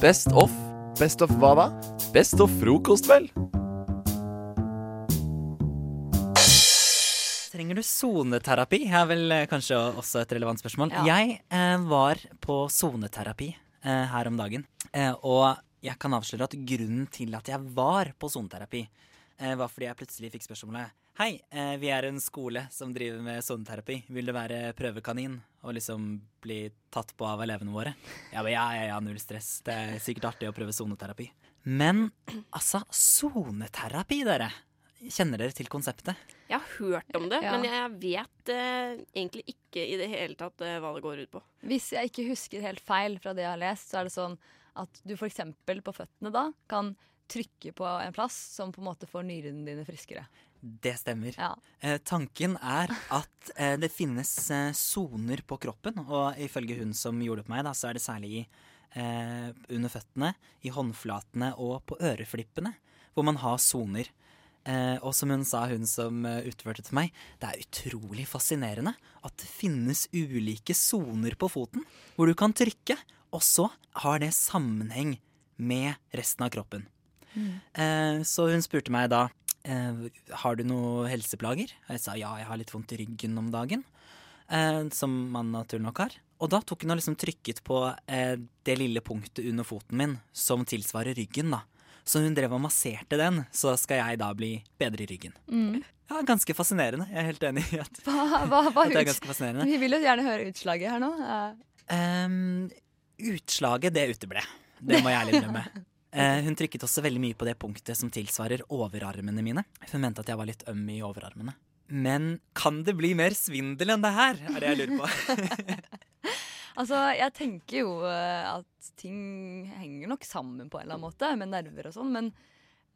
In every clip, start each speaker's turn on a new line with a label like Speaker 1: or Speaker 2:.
Speaker 1: Best off.
Speaker 2: Best of hva da?
Speaker 1: Best off frokost, vel?
Speaker 3: Trenger du soneterapi? er vel eh, kanskje også et relevant spørsmål.
Speaker 4: Ja.
Speaker 3: Jeg eh, var på soneterapi eh, her om dagen, eh, og jeg kan avsløre at grunnen til at jeg var på soneterapi, eh, var fordi jeg plutselig fikk spørsmålet Hei, eh, vi er en skole som driver med soneterapi. Vil du være prøvekanin og liksom bli tatt på av elevene våre? Jeg bare, ja, ja, ja, null stress. Det er sikkert artig å prøve soneterapi. Men altså, soneterapi, dere. Kjenner dere til konseptet?
Speaker 5: Jeg har hørt om det,
Speaker 4: Ja.
Speaker 5: men jeg vet eh, egentlig ikke i det hele tatt eh, hva det går ut på.
Speaker 4: Hvis jeg ikke husker helt feil fra det jeg har lest, så er det sånn at du f.eks. på føttene da kan trykke på en plass som på en måte får nyrene dine friskere.
Speaker 3: Det stemmer.
Speaker 4: Ja.
Speaker 3: Eh, tanken er at eh, det finnes eh, soner på kroppen, og ifølge hun som gjorde det på meg, da, så er det særlig i, eh, under føttene, i håndflatene og på øreflippene, hvor man har soner. Eh, og som hun sa, hun som eh, utførte det til meg, det er utrolig fascinerende at det finnes ulike soner på foten hvor du kan trykke, og så har det sammenheng med resten av kroppen. Eh, så hun spurte meg da eh, har du noe helseplager? Og jeg sa ja, jeg har litt vondt i ryggen om dagen. Eh, som man naturlig nok har. Og da tok hun og liksom trykket på eh, det lille punktet under foten min som tilsvarer ryggen, da. Så hun drev og masserte den, så skal jeg da bli bedre i ryggen. Ja, ganske fascinerende. Jeg er helt enig i at,
Speaker 4: Hva, hva, hva
Speaker 3: at det er
Speaker 4: ut,
Speaker 3: ganske fascinerende.
Speaker 4: vi vil jo gjerne høre utslaget her nå. Eh,
Speaker 3: Ehm, utslaget, det uteble. Det må jeg ærlig innrømme. Eh, hun trykket også veldig mye på det punktet som tilsvarer overarmene mine. Hun mente at jeg var litt øm i overarmene. Men kan det bli mer svindel enn det her, er det jeg lurer på.
Speaker 4: Altså, jeg tenker jo eh, at ting henger nok sammen på en eller annen måte, med nerver og sånn, men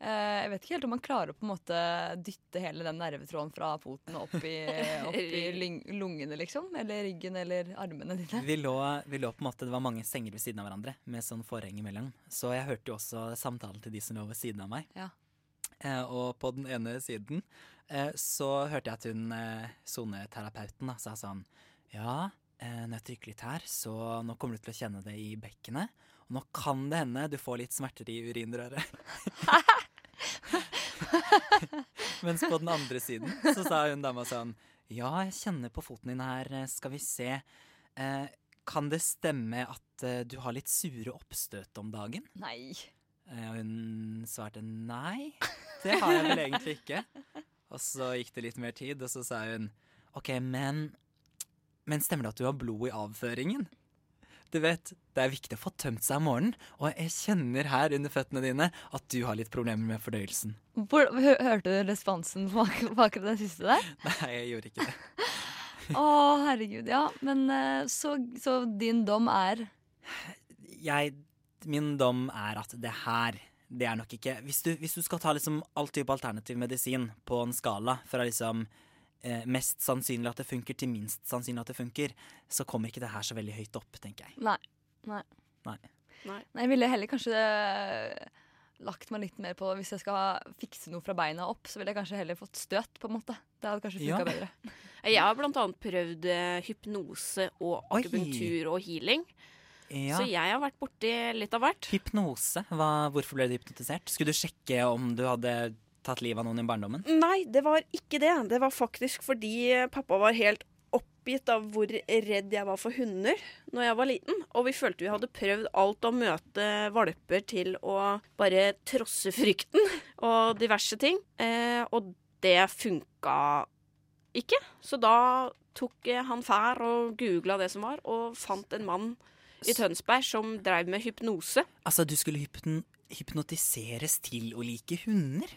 Speaker 4: eh, jeg vet ikke helt om man klarer å på en måte dytte hele den nervetråden fra foten og opp i, opp i lyng- lungene, liksom. Eller ryggen eller armene dine.
Speaker 3: Vi lå, vi lå på en måte, Det var mange senger ved siden av hverandre med sånn forheng imellom. Så jeg hørte jo også samtalen til de som lå ved siden av meg.
Speaker 4: Ja.
Speaker 3: Eh, og på den ene siden eh, så hørte jeg at hun eh, soneterapeuten da, sa sånn Ja, eh, når jeg trykker litt her, så nå kommer du til å kjenne det i bekkenet. Og nå kan det hende du får litt smerter i urinrøret. Mens på den andre siden så sa hun dama sånn Ja, jeg kjenner på foten din her, eh, skal vi se. Eh, kan det stemme at eh, du har litt sure oppstøt om dagen?
Speaker 4: Nei.
Speaker 3: Eh, Og hun svarte nei, det har jeg vel egentlig ikke. Og så gikk det litt mer tid, og så sa hun OK, men Men stemmer det at du har blod i avføringen? Du vet, det er viktig å få tømt seg om morgenen, og jeg kjenner her under føttene dine at du har litt problemer med fordøyelsen.
Speaker 4: Hvor, hø- hørte du responsen på ak- på akkurat den siste der?
Speaker 3: Nei, jeg gjorde ikke det.
Speaker 4: Å, herregud, ja. Men eh, så, så din dom er
Speaker 3: jeg, min dom er at det her det er nok ikke Hvis du, hvis du skal ta liksom all type alternativ medisin på en skala fra liksom eh, mest sannsynlig at det funker, til minst sannsynlig at det funker, så kommer ikke det her så veldig høyt opp, tenker jeg.
Speaker 4: Nei. Nei.
Speaker 3: Nei.
Speaker 5: Nei.
Speaker 4: Nei, jeg ville heller kanskje eh, lagt meg litt mer på Hvis jeg skal fikse noe fra beina opp, så ville jeg kanskje heller fått støt, på en måte. Det hadde kanskje funka
Speaker 3: Ja.
Speaker 4: bedre.
Speaker 5: Jeg har blant annet prøvd eh, hypnose og
Speaker 3: Oi.
Speaker 5: akupunktur og healing.
Speaker 3: Ja.
Speaker 5: Så jeg har vært borti litt av hvert.
Speaker 3: Hypnose. Hva, hvorfor ble du hypnotisert? Skulle du sjekke om du hadde tatt livet av noen i barndommen?
Speaker 5: Nei, det var ikke det. Det var faktisk fordi eh, pappa var helt oppgitt av hvor redd jeg var for hunder når jeg var liten. Og vi følte vi hadde prøvd alt å møte valper til å bare trosse frykten og diverse ting. Eh, og det funka ikke. Så da tok eh, han fær og googla det som var, og fant en mann i Tønsberg som dreiv med hypnose.
Speaker 3: Altså, du skulle hypn hypnotiseres til å like hunder?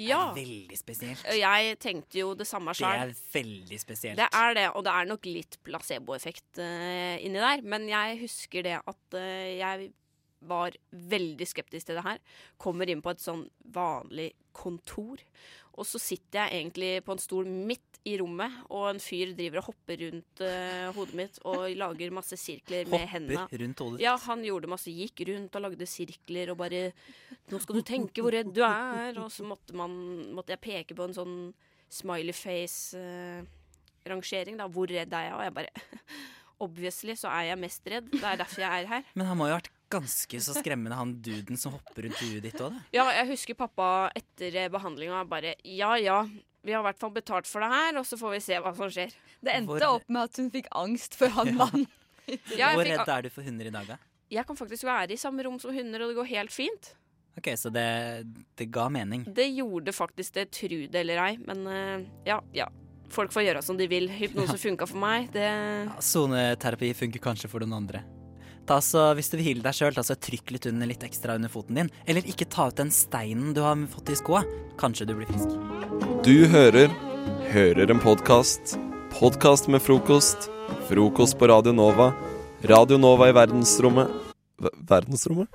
Speaker 5: Ja.
Speaker 3: Det er veldig spesielt.
Speaker 5: Og jeg tenkte jo det samme
Speaker 3: Det
Speaker 5: sjøl.
Speaker 3: er veldig spesielt.
Speaker 5: Det er det, og det er nok litt placeboeffekt eh, inni der. Men jeg husker det at eh, jeg var veldig skeptisk til det her. Kommer inn på et sånn vanlig kontor, og så sitter jeg egentlig på en stol midt i rommet, og en fyr driver og hopper rundt eh, hodet mitt og lager masse sirkler med hendene.
Speaker 3: Hopper rundt hodet.
Speaker 5: Ja, han gjorde masse, gikk rundt og lagde sirkler og bare 'Nå skal du tenke hvor redd du er.' Og så måtte, man, måtte jeg peke på en sånn smiley face-rangering, da. Hvor redd er jeg? Og jeg bare Obviously så er jeg mest redd. Det er derfor jeg er her.
Speaker 3: Men han må jo ha vært ganske så skremmende, han duden som hopper rundt huet ditt òg, det.
Speaker 5: Ja, jeg husker pappa etter behandlinga bare Ja ja, vi har i hvert fall betalt for det her, og så får vi se hva som skjer.
Speaker 4: Det endte
Speaker 3: Hvor-
Speaker 4: opp med at hun fikk angst før han
Speaker 3: Ja.
Speaker 4: vant.
Speaker 5: Ja,
Speaker 3: Hvor
Speaker 5: jeg, fikk,
Speaker 3: redd er du for hunder i dag, da?
Speaker 5: jeg kan faktisk være i samme rom som hunder, og det går helt fint.
Speaker 3: OK, så det, det ga mening.
Speaker 5: Det gjorde faktisk det, tru det eller ei, men eh, ja, ja. Folk får gjøre som de vil. Hypnose funka for meg. Det
Speaker 3: Ja, Soneterapi funker kanskje for noen andre. Ta så, Hvis du vil hvile deg sjøl, trykk litt under litt ekstra under foten din. Eller ikke ta ut den steinen du har fått i skoa. Kanskje du blir frisk.
Speaker 1: Du hører Hører en podkast. Podkast med frokost. Frokost på Radio Nova. Radio Nova i verdensrommet. Ver- verdensrommet?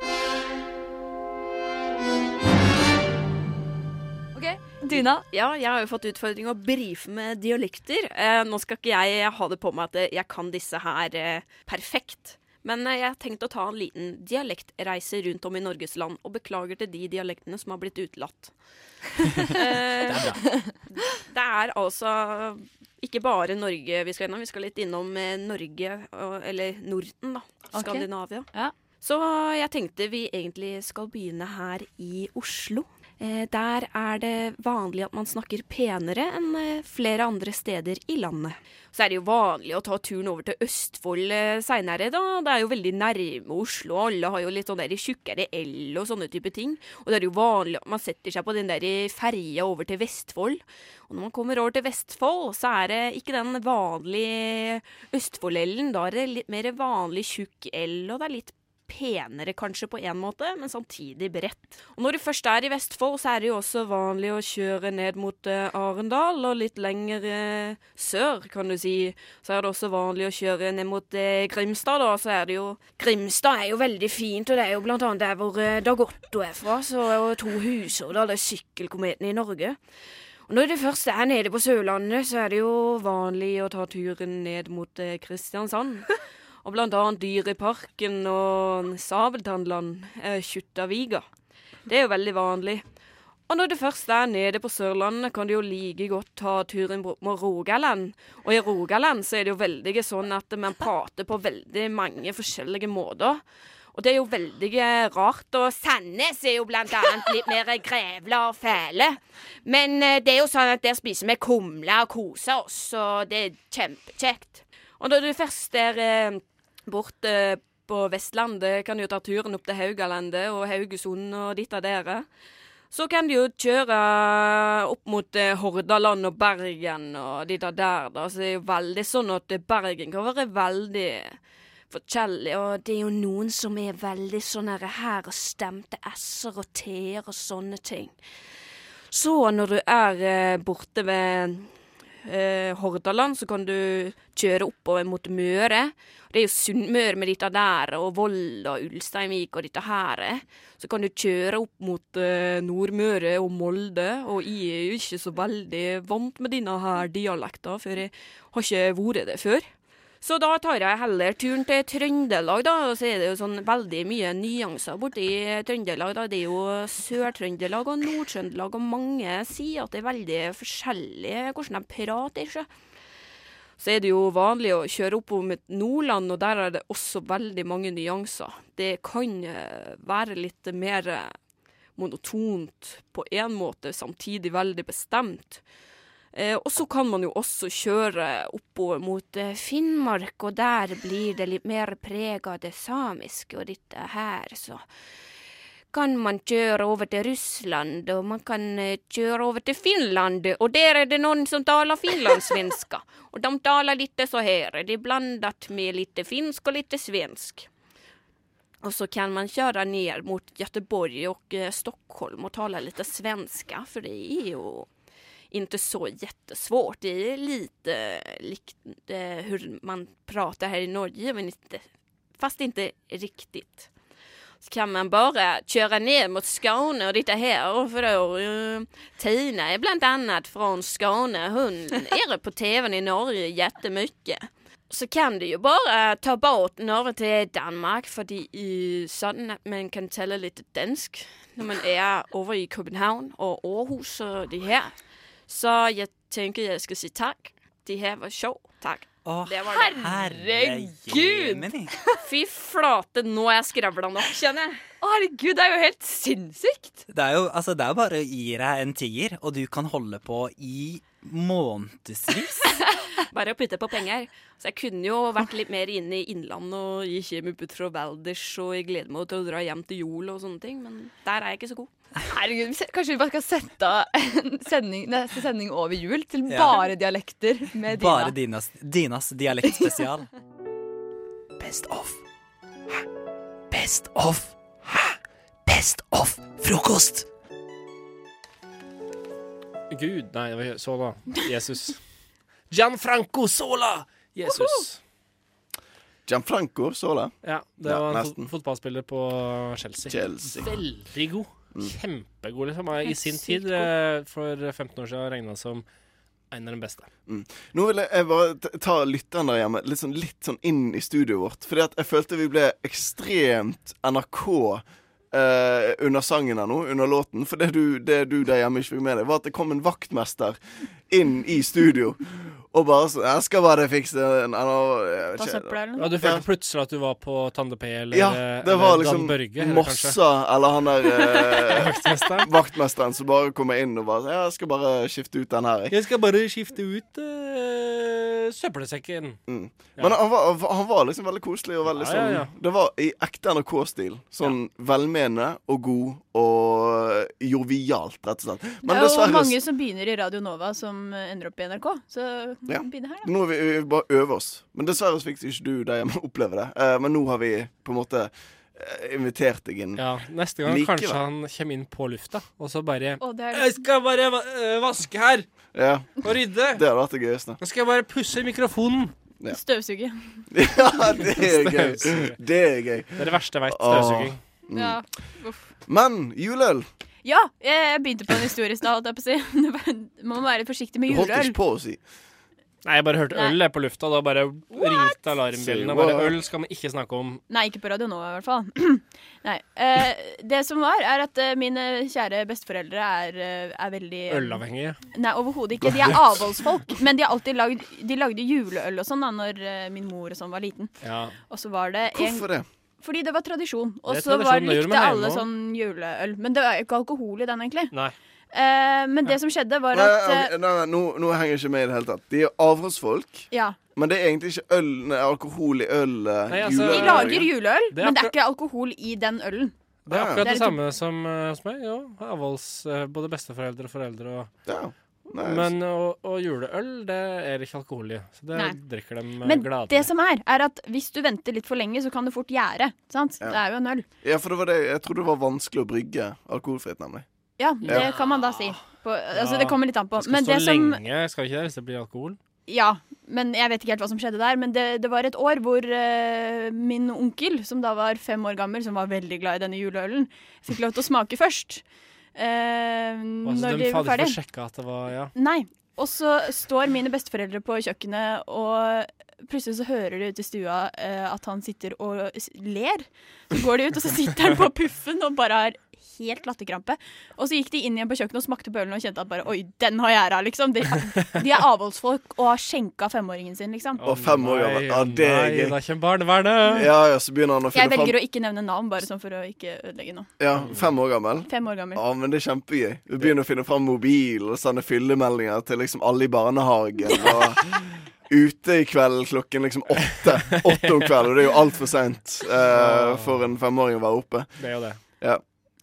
Speaker 4: Ok, Dina,
Speaker 5: Ja, jeg har jo fått utfordring å brife med dialekter. Eh, nå skal ikke jeg ha det på meg at eh, jeg kan disse her eh, perfekt. Men eh, jeg har tenkt å ta en liten dialektreise rundt om i Norges land, og beklager til de dialektene som har blitt utelatt. Eh, det er altså ikke bare Norge vi skal innom, vi skal litt innom eh, Norge, og- eller Norden, da.
Speaker 4: Ok.
Speaker 5: Skandinavia.
Speaker 4: Ja.
Speaker 5: Så jeg tenkte vi egentlig skal begynne her i Oslo. Eh, der er det vanlig at man snakker penere enn eh, flere andre steder i landet. Så er det jo vanlig å ta turen over til Østfold eh, seinere, da. Det er jo veldig nærme Oslo, og alle har jo litt sånn der tjukkere L og sånne type ting. Og det er jo vanlig at man setter seg på den der ferja over til Vestfold. Og når man kommer over til Vestfold, så er det ikke den vanlige Østfold-L-en. Da er det litt mer vanlig tjukk L, og det er litt penere kanskje på en måte, men samtidig bredt. Og når du først er i Vestfold, så er det jo også vanlig å kjøre ned mot eh, Arendal, og litt lenger eh, sør, kan du si, så er det også vanlig å kjøre ned mot eh, Grimstad, da, så er det jo Grimstad er jo veldig fint, og det er jo blant annet der hvor eh, Dag Otto er fra, så er jo to hus, og da er det sykkelkometen i Norge. Og når det først er nede på Sørlandet, så er det jo vanlig å ta turen ned mot eh, Kristiansand. Og blant annet Dyreparken og Sabeltannland, eh, Kjuttaviga. Det er jo veldig vanlig. Og når du først er nede på Sørlandet, kan du jo like godt ta turen bort mot Rogaland. Og i Rogaland så er det jo veldig sånn at man prater på veldig mange forskjellige måter. Og det er jo veldig eh, rart. Og Sandnes er jo blant annet litt mer grevla og fæle. Men eh, det er jo sånn at der spiser vi kumle og koser oss, og det er kjempekjekt. Og når du først er eh, bort eh, på Vestlandet, kan du jo ta turen opp til Haugalandet og Haugesund og ditt av dere. Så kan du jo kjøre opp mot eh, Hordaland og Bergen og de der der, da. Så det er jo veldig sånn at eh, Bergen kan være veldig forskjellig. Og det er jo noen som er veldig sånn her, her og stemte s-er og t-er og sånne ting. Så når du er eh, borte ved eh, Hordaland, så kan du kjøre oppover mot Møre. Det er jo Sunnmøre med dette der, og Volda, Ulsteinvik og dette her. eh. Så kan du kjøre opp mot eh, Nordmøre og Molde, og jeg er jo ikke så veldig vant med denne her dialekten, for jeg har ikke vært det før. Så da tar jeg heller turen til Trøndelag, da. Og så er det jo sånn veldig mye nyanser borti Trøndelag, da. Det er jo Sør-Trøndelag og Nord-Trøndelag, og mange sier at det er veldig forskjellig hvordan de prater. Ikke? Så er det jo vanlig å kjøre opp mot Nordland, og der er det også veldig mange nyanser. Det kan eh, være litt mer eh, monotont på én måte, samtidig veldig bestemt. Eh, og så kan man jo også kjøre oppover mot eh, Finnmark, og der blir det litt mer preg av det samiske og dette her, så kan man kjøre over til Russland, og man kan eh, kjøre over til Finland, og der er det noen som taler finlandssvenska, og de taler litt så her, det er blandat med litt finsk og litt svensk. Och så kan man köra ner mot Göteborg och eh, Stockholm och tala lite svenska för det är ju inte så jättesvårt. Det är lite likt eh, hur man pratar här i Norge men inte, fast inte riktigt. Så kan man bara köra ner mot Skåne och titta här för då eh, Tina är bland annat från Skåne. Hon är på tvn i Norge jättemycket så kan du jo bare ta båten over til Danmark, fordi i, sånn at man kan tale litt dansk når man er over i København og Aarhus og det her. Så jeg tenker jeg skal si takk. Det her var sjovt. Takk.
Speaker 3: Å,
Speaker 5: Det var det.
Speaker 4: Herregud!
Speaker 3: jemini.
Speaker 5: Fy flate, nå er jeg skravla nok, kjenner jeg.
Speaker 4: Å, herregud, det er jo helt sinnssykt!
Speaker 3: Det er jo altså, det er jo bare å gi deg en tier, og du kan holde på i månedsvis.
Speaker 5: Bare å putte på penger. Så jeg kunne jo vært litt mer inne i Innlandet og i Kjemup ut fra Valdres, og jeg gleder meg til å dra hjem til jul og sånne ting, men der er jeg ikke så god.
Speaker 4: Herregud, se- Kanskje vi bare skal sette av en sending, neste sending over jul til
Speaker 3: Ja.
Speaker 4: bare dialekter med Dina.
Speaker 3: Bare Dinas, Dinas dialektspesial. Best of. Hæ? Best of. Hæ? Best of frokost!
Speaker 2: Gud, nei, det var Sola. Jesus. Gianfranco Sola! Jesus.
Speaker 6: Gianfranco Sola.
Speaker 2: Ja, det
Speaker 6: Ja,
Speaker 2: var en
Speaker 6: nesten.
Speaker 2: fot fotballspiller på Chelsea.
Speaker 6: Chelsea.
Speaker 2: Veldig god.
Speaker 6: Mm,
Speaker 2: Kjempegod, liksom. I
Speaker 5: Helt
Speaker 2: sin
Speaker 5: sykt
Speaker 2: tid,
Speaker 5: god.
Speaker 2: eh, for 15 år siden, regna som en av de beste.
Speaker 6: mm. Nå vil jeg- jeg bare t- ta lytteren der hjemme litt sånn, litt sånn inn i studioet vårt. Fordi at jeg følte vi ble ekstremt NRK eh, under sangen her nå, under låten. For det du, det du der hjemme ikke fikk med deg, var at det kom en vaktmester inn i studio. Og bare sånn Jeg skal bare fikse en en- en- jeg
Speaker 4: Ta
Speaker 6: vet
Speaker 4: søpla
Speaker 6: ikke.
Speaker 4: eller noe.
Speaker 2: Ja, du
Speaker 6: Ja.
Speaker 2: følte plutselig at du var på Tande P eller, eh,
Speaker 6: Ja, det
Speaker 2: eller
Speaker 6: var liksom
Speaker 2: Dan Børge. eller kanskje.
Speaker 6: Mossa eller han der eh,
Speaker 2: Vaktmesteren.
Speaker 6: vaktmesteren som bare kommer inn og bare sånn, Jeg skal bare skifte ut den her, jeg.
Speaker 2: Jeg skal bare skifte ut eh, søppelsekken. Ja.
Speaker 6: Mm. Men han var, han var- han var liksom veldig koselig og veldig
Speaker 2: Ja, ja, ja.
Speaker 6: sånn Det var i ekte NRK-stil. Sånn velmenende og god og jovialt, rett og slett. Men
Speaker 7: det er jo
Speaker 6: dessverre
Speaker 7: mange som begynner i Radio Nova som eh, ender opp i NRK, så
Speaker 6: Ja.
Speaker 7: begynn her, da.
Speaker 6: Nå vil vi, vi bare øve oss. Men dessverre så fikk ikke du det hjemme oppleve det. Eh, men nå har vi på en måte eh, invitert deg inn.
Speaker 2: Ja, neste gang
Speaker 6: Likevel.
Speaker 2: kanskje han kommer inn på lufta, og så bare
Speaker 7: Å, det er
Speaker 2: Jeg skal bare va- øh, vaske her
Speaker 6: Ja,
Speaker 2: og rydde.
Speaker 6: Det hadde vært det gøyeste.
Speaker 2: Nå skal jeg bare pusse mikrofonen.
Speaker 7: støvsuget.
Speaker 6: Ja, det er gøy. Det er gøy.
Speaker 2: Det er det verste jeg veit.
Speaker 6: Åh. Mm.
Speaker 2: Støvsuging.
Speaker 7: Ja.
Speaker 6: Men juleøl
Speaker 7: ja, jeg jeg begynte på en historie i stad, holdt jeg på å si. Det var- Man må være forsiktig med
Speaker 6: Du holdt
Speaker 7: juleøl.
Speaker 6: ikke på å si.
Speaker 2: Nei, jeg bare hørte
Speaker 7: Nei.
Speaker 2: øl jeg, på lufta, og da bare ringte alarmbjellen. Og bare
Speaker 6: Say what?
Speaker 2: øl skal man ikke snakke om.
Speaker 7: Nei, ikke på Radio Nova i hvert fall. Nei. eh, det som var, er at eh, mine kjære besteforeldre er, eh, er veldig
Speaker 2: Ølavhengige.
Speaker 7: Nei, overhodet ikke. De er avholdsfolk. Men de har alltid lagd De lagde juleøl og sånn da når eh, min mor og sånn var liten.
Speaker 2: Ja.
Speaker 7: Og så var det en
Speaker 6: Hvorfor det?
Speaker 7: Fordi det var tradisjon. Og
Speaker 2: Det er
Speaker 7: så
Speaker 2: tradisjon,
Speaker 7: var-
Speaker 2: det gjorde
Speaker 7: likte
Speaker 2: man hjemme
Speaker 7: alle
Speaker 2: også.
Speaker 7: sånn juleøl. Men det var jo ikke alkohol i den, egentlig.
Speaker 2: Nei.
Speaker 7: Eh, men det som skjedde, var
Speaker 6: Nei,
Speaker 7: at
Speaker 6: nei,
Speaker 7: eh,
Speaker 6: nei, nei, nå, nå henger jeg ikke med i det hele tatt. De er avholdsfolk.
Speaker 7: Ja.
Speaker 6: Men det er egentlig ikke øl, nei, alkohol i øl. eh,
Speaker 2: Nei, altså-
Speaker 6: juleøl.
Speaker 7: De lager juleøl,
Speaker 2: Det er
Speaker 7: men det er
Speaker 2: akkurat-
Speaker 7: ikke alkohol i den ølen.
Speaker 2: Det er
Speaker 6: Ja.
Speaker 2: akkurat
Speaker 7: Det
Speaker 2: det
Speaker 7: er
Speaker 2: samme som øh, hos meg. Jo, avholds, øh, både besteforeldre og foreldre. Og,
Speaker 6: Ja. Nei,
Speaker 2: men og, og juleøl, det er ikke alkohol i. Så det
Speaker 7: Nei.
Speaker 2: drikker de øh,
Speaker 7: sånn- Men
Speaker 2: gladelig.
Speaker 7: det som er, er at hvis du venter litt for lenge, så kan det fort gjære. Sant?
Speaker 6: Ja.
Speaker 7: Det er jo en øl.
Speaker 6: ja, for det var det, jeg trodde det var vanskelig å brygge alkoholfritt, nemlig.
Speaker 7: Ja, det kan man da si. På, altså, det kommer litt an på.
Speaker 2: Det skal
Speaker 7: Men
Speaker 2: stå
Speaker 7: det som
Speaker 2: lenge, skal ikke det, hvis det blir alkohol?
Speaker 7: Ja, men jeg vet ikke helt hva som skjedde der. Men det, det var et år hvor eh, min onkel, som da var fem år gammel, som var veldig glad i denne juleølen, fikk lov til å smake først. eh,
Speaker 2: Altså,
Speaker 7: når
Speaker 2: de hadde
Speaker 7: de var
Speaker 2: ikke
Speaker 7: ferdige.
Speaker 2: fått sjekka at det var Ja.
Speaker 7: Nei. Og så står mine besteforeldre på kjøkkenet, og plutselig så hører de ute i stua eh, at han sitter og s- ler. Så går de ut, og så sitter han på puffen og bare har helt latterkrampe. Og så gikk de inn igjen på kjøkkenet og smakte på ølen og kjente at bare Oi, den har jeg æra, liksom. De, de er avholdsfolk og har skjenka femåringen sin, liksom.
Speaker 6: Og fem år gammel. Ja, det er
Speaker 2: nei,
Speaker 6: gøy.
Speaker 2: da kommer barnevernet!
Speaker 6: Ja, ja, så begynner han å
Speaker 7: Jeg
Speaker 6: finne
Speaker 7: velger
Speaker 6: fram
Speaker 7: å ikke nevne navn, bare sånn for å ikke ødelegge noe.
Speaker 6: Ja, Fem år gammel?
Speaker 7: Fem år gammel.
Speaker 6: Ja, men det er kjempegøy. Du begynner å finne fram mobil og sende fyllemeldinger til liksom alle i barnehagen. Og ute i kveld klokken liksom åtte. Åtte om kvelden, og det er jo altfor seint eh, for en femåring å være oppe.
Speaker 2: Ah. Det er jo det.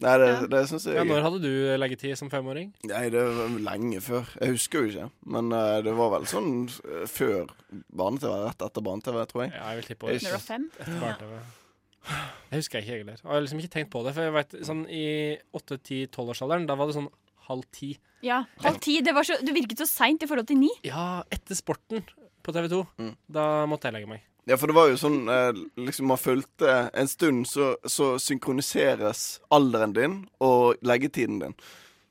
Speaker 6: Nei, det, det syns jeg
Speaker 2: Ja,
Speaker 6: er gøy.
Speaker 2: når hadde du eh, leggetid som femåring?
Speaker 6: Nei, det var lenge før. Jeg husker jo ikke. Men eh, det var vel sånn eh, før barne-TV. Rett etter barne-TV, tror jeg.
Speaker 2: Ja, jeg vil tippe
Speaker 6: Jeg
Speaker 2: år-
Speaker 7: Når du var fem.
Speaker 2: etter barne-TV. Jeg husker ikke heller. Jeg har liksom ikke tenkt på det. For jeg vet, sånn I 8-10-12-årsalderen, da var det sånn halv ti.
Speaker 7: Ja. Halv ti. Det, var så, det virket så seint i forhold til ni.
Speaker 2: Ja, etter Sporten på TV 2.
Speaker 6: Mm.
Speaker 2: Da måtte jeg legge meg.
Speaker 6: Ja, for det var jo sånn eh, liksom man fulgte En stund så, så synkroniseres alderen din og leggetiden din.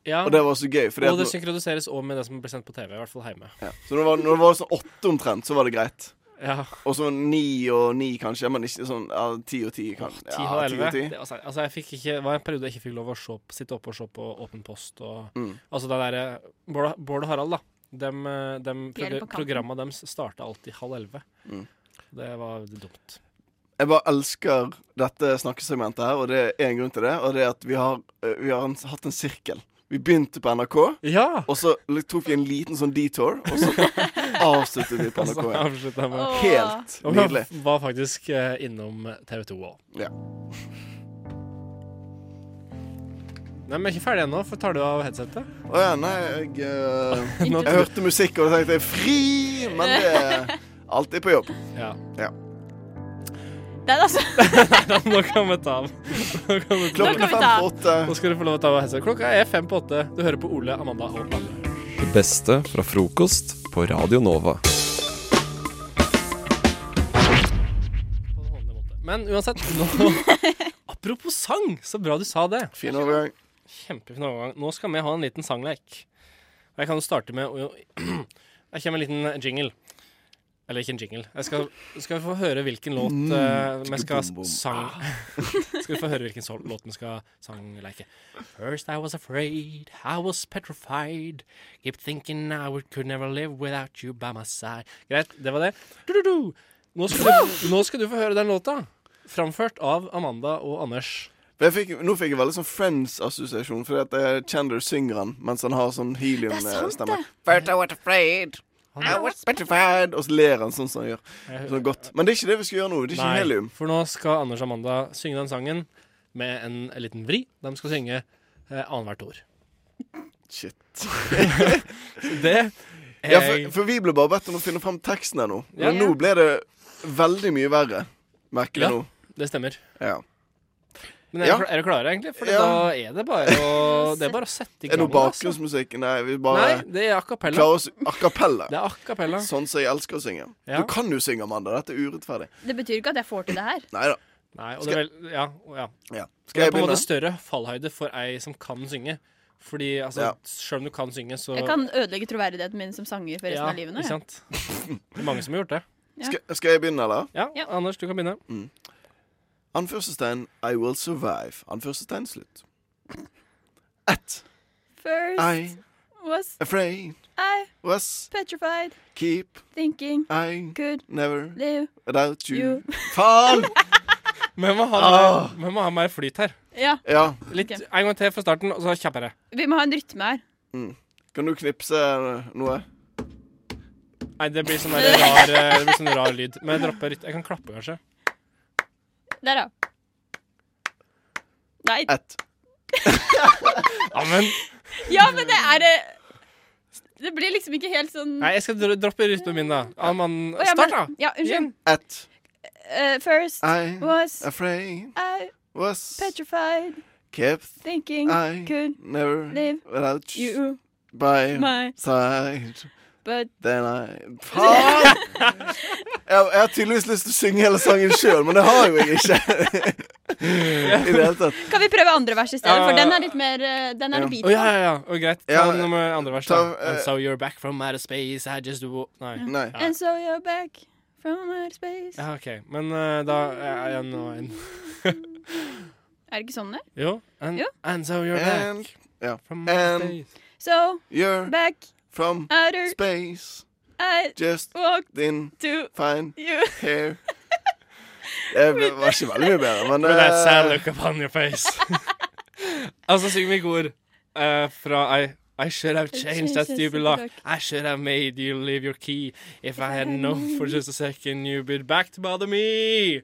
Speaker 2: Ja,
Speaker 6: Og det var så gøy. Fordi
Speaker 2: og
Speaker 6: at
Speaker 2: det
Speaker 6: nå,
Speaker 2: synkroniseres òg med det som blir sendt på TV, i hvert fall hjemme.
Speaker 6: ja. Så når det, var, når det var sånn åtte omtrent, så var det greit.
Speaker 2: Ja,
Speaker 6: Og så ni og ni, kanskje. Men ikke sånn ja, ti og ti, kanskje.
Speaker 2: 10
Speaker 6: Ja,
Speaker 2: og
Speaker 6: ti
Speaker 2: 11.
Speaker 6: og ti.
Speaker 2: Det, altså, altså, jeg fikk ikke, det var en periode jeg ikke fikk lov å se, på- sitte oppe og se på Åpen post og
Speaker 6: Mm.
Speaker 2: Altså det derre eh, Bård, Bård og Harald, da. Dem, eh, dem,
Speaker 7: De er
Speaker 2: progra-
Speaker 7: på kanten.
Speaker 2: programma deres starta alltid halv elleve.
Speaker 6: Mm.
Speaker 2: Det var dumt.
Speaker 6: Jeg bare elsker dette snakkesegmentet her, og det er én grunn til det. Og det er at vi har, eh, vi har en, hatt en sirkel. Vi begynte på NRK,
Speaker 2: Ja!
Speaker 6: og så li- tok vi en liten sånn detour, og så avsluttet vi på
Speaker 2: Og så
Speaker 6: NRK. igjen.
Speaker 2: avslutta jeg med
Speaker 7: Åh.
Speaker 6: Helt
Speaker 2: Og
Speaker 6: nydelig.
Speaker 2: vi var faktisk eh, innom TV 2 òg.
Speaker 6: Ja.
Speaker 2: Nei, men jeg er ikke ferdig ennå, for tar du av headsetet?
Speaker 6: Å ja, nei, jeg eh,
Speaker 2: Nå-
Speaker 6: Jeg hørte musikk og tenkte fri, men det er alltid på jobb.
Speaker 2: Ja.
Speaker 7: Det er altså
Speaker 2: Nå kan vi ta av. Nå, kan vi ta av.
Speaker 6: Klokken
Speaker 7: kan
Speaker 6: er
Speaker 7: vi
Speaker 6: fem
Speaker 7: ta.
Speaker 6: på åtte.
Speaker 2: Nå skal du få lov å ta av headsetet. Klokka er fem på åtte. Du hører på Ole, Amanda og Anne.
Speaker 1: Det beste fra frokost på Radio Nova.
Speaker 2: På en vanlig måte. Men uansett nå, Apropos sang, så bra du sa det.
Speaker 6: Fin overgang.
Speaker 2: Kjempefin overgang. Nå skal vi ha en liten sangleik. Og jeg kan jo starte med å Jeg kommer med en liten jingle. Eller ikke en jingle. Jeg skal, skal vi få høre hvilken
Speaker 6: Mm.
Speaker 2: låt eh, vi skal
Speaker 6: bom, bom.
Speaker 2: sang...
Speaker 6: Ah.
Speaker 2: Skal vi få høre hvilken sol- låt vi skal sangleike. First I was afraid, I was petrified. Keep thinking I would, could never live without you by my side. Greit, det var det. Du-du-du. Nå skal, du, nå skal du få høre den låta. Framført av Amanda og Anders.
Speaker 6: Men Jeg fikk, nå fikk jeg veldig sånn Friends-assosiasjon, fordi at det er Chandler synger han mens han har sånn
Speaker 7: Det er sant,
Speaker 6: heliumstemme.
Speaker 7: det.
Speaker 6: First I was afraid, I was petrified. Og så ler han sånn som han gjør. Sånn godt. Men det er ikke det vi skal gjøre nå. Det er ikke helium.
Speaker 2: for nå skal Anders og Amanda synge den sangen med en liten vri. De skal synge eh, annethvert ord.
Speaker 6: Shit.
Speaker 2: Det
Speaker 6: Ja, for, for vi ble bare bedt om å finne fram teksten her nå.
Speaker 2: Ja.
Speaker 6: Men nå ble det veldig mye verre, merker jeg
Speaker 2: Ja.
Speaker 6: nå.
Speaker 2: Det stemmer.
Speaker 6: Ja.
Speaker 2: Men er,
Speaker 6: Ja.
Speaker 2: dere- er dere klare, egentlig? For
Speaker 6: Ja.
Speaker 2: da er det bare å, det er bare å sette i
Speaker 6: Er det
Speaker 2: gang.
Speaker 6: noe bakgrunnsmusikk? Nei, vi bare
Speaker 2: altså? Nei, det er a cappella.
Speaker 6: klarer oss a cappella.
Speaker 2: Det er a cappella.
Speaker 6: Sånn som jeg elsker å synge.
Speaker 2: Ja.
Speaker 6: Du kan jo synge, Amanda. Dette er urettferdig.
Speaker 7: Det betyr ikke at jeg får til det her.
Speaker 6: Nei da.
Speaker 2: Nei, og det er vel Ja. og
Speaker 6: Ja.
Speaker 2: ja. Det
Speaker 6: Skal
Speaker 2: er
Speaker 6: jeg
Speaker 2: på en måte
Speaker 6: begynne?
Speaker 2: større fallhøyde for ei som kan synge. Fordi altså,
Speaker 6: Ja.
Speaker 2: sjøl om du kan synge, så
Speaker 7: Jeg kan ødelegge troverdigheten min som sanger for resten
Speaker 2: ja,
Speaker 7: av livet. nå,
Speaker 2: Ikke
Speaker 7: jeg.
Speaker 2: sant? Det er mange som har gjort det.
Speaker 7: Ja.
Speaker 6: Skal, skal jeg begynne, eller? Mm.
Speaker 2: Ja,
Speaker 7: Ja.
Speaker 2: Anders, du kan begynne.
Speaker 6: Anførselstegn I will survive. Anførselstegn slutt. At I
Speaker 7: First was
Speaker 6: afraid
Speaker 7: I
Speaker 6: was
Speaker 7: petrified
Speaker 6: keep
Speaker 7: thinking
Speaker 6: I
Speaker 7: could
Speaker 6: never
Speaker 7: live
Speaker 6: without you.
Speaker 7: You.
Speaker 6: Faen!
Speaker 2: Vi må ha,
Speaker 6: Ah.
Speaker 2: vi må ha mer flyt her.
Speaker 7: Ja,
Speaker 6: Ja.
Speaker 2: Litt,
Speaker 7: Ok.
Speaker 2: En gang til fra starten, og så kjappere.
Speaker 7: vi må ha en rytme her.
Speaker 6: Kan du knipse Mm. noe?
Speaker 2: Nei, det blir sånn der rar, eh, det blir sånn rar lyd. Men jeg dropper rytme. Jeg kan klappe, kanskje.
Speaker 7: Der, ja. Nei.
Speaker 6: At
Speaker 2: Ja, men
Speaker 7: Ja, men det er eh, Det blir liksom ikke helt sånn
Speaker 2: Nei, jeg skal dro- droppe rytmen min, da. Ja, man,
Speaker 7: Å, ja, men-
Speaker 2: start, da.
Speaker 7: Ja, unnskyld.
Speaker 2: Igjen.
Speaker 6: At
Speaker 7: Eh, first
Speaker 6: I
Speaker 7: was
Speaker 6: afraid
Speaker 7: I
Speaker 6: was
Speaker 7: petrified
Speaker 6: kept
Speaker 7: thinking
Speaker 6: I
Speaker 7: could
Speaker 6: never
Speaker 7: Live
Speaker 6: without you
Speaker 7: you
Speaker 6: by
Speaker 7: my
Speaker 6: side.
Speaker 7: but
Speaker 6: Then I Faen! Jeg, jeg har tydeligvis lyst til å synge hele sangen sjøl, men det har jo jeg ikke. I det hele tatt.
Speaker 7: Kan vi prøve andre vers i stedet?
Speaker 2: Ja.
Speaker 7: For den er litt mer eh, Den er
Speaker 6: Ja.
Speaker 7: litt bit.
Speaker 2: Å, ja, ja, ja. Å, greit. Ta
Speaker 6: Ja,
Speaker 2: den med andre vers,
Speaker 6: ta,
Speaker 2: da.
Speaker 6: eh,
Speaker 2: And so you're back from outer space, I just do Nei.
Speaker 6: Nei.
Speaker 2: Ja.
Speaker 7: And so you're back from outer space.
Speaker 2: Ja, OK. Men eh, da er jeg nå en
Speaker 7: Er det ikke sånn det?
Speaker 2: Jo. And,
Speaker 7: Jo.
Speaker 2: and so you're
Speaker 6: And
Speaker 2: back
Speaker 6: ja.
Speaker 2: from outer
Speaker 6: And-
Speaker 2: space.
Speaker 7: So
Speaker 6: you're
Speaker 7: back
Speaker 6: from
Speaker 7: outer
Speaker 6: space.
Speaker 7: I
Speaker 6: Just
Speaker 7: walk
Speaker 6: in
Speaker 7: to
Speaker 6: fine
Speaker 7: you.
Speaker 6: hair. Det var ikke veldig mye bedre, men
Speaker 2: With that sad
Speaker 6: eh,
Speaker 2: look upon your face. altså, syng meg ord eh, fra I I should have changed that stupid lock. I should have made you leave your key. If I had known for just a second you'd be back to bother me.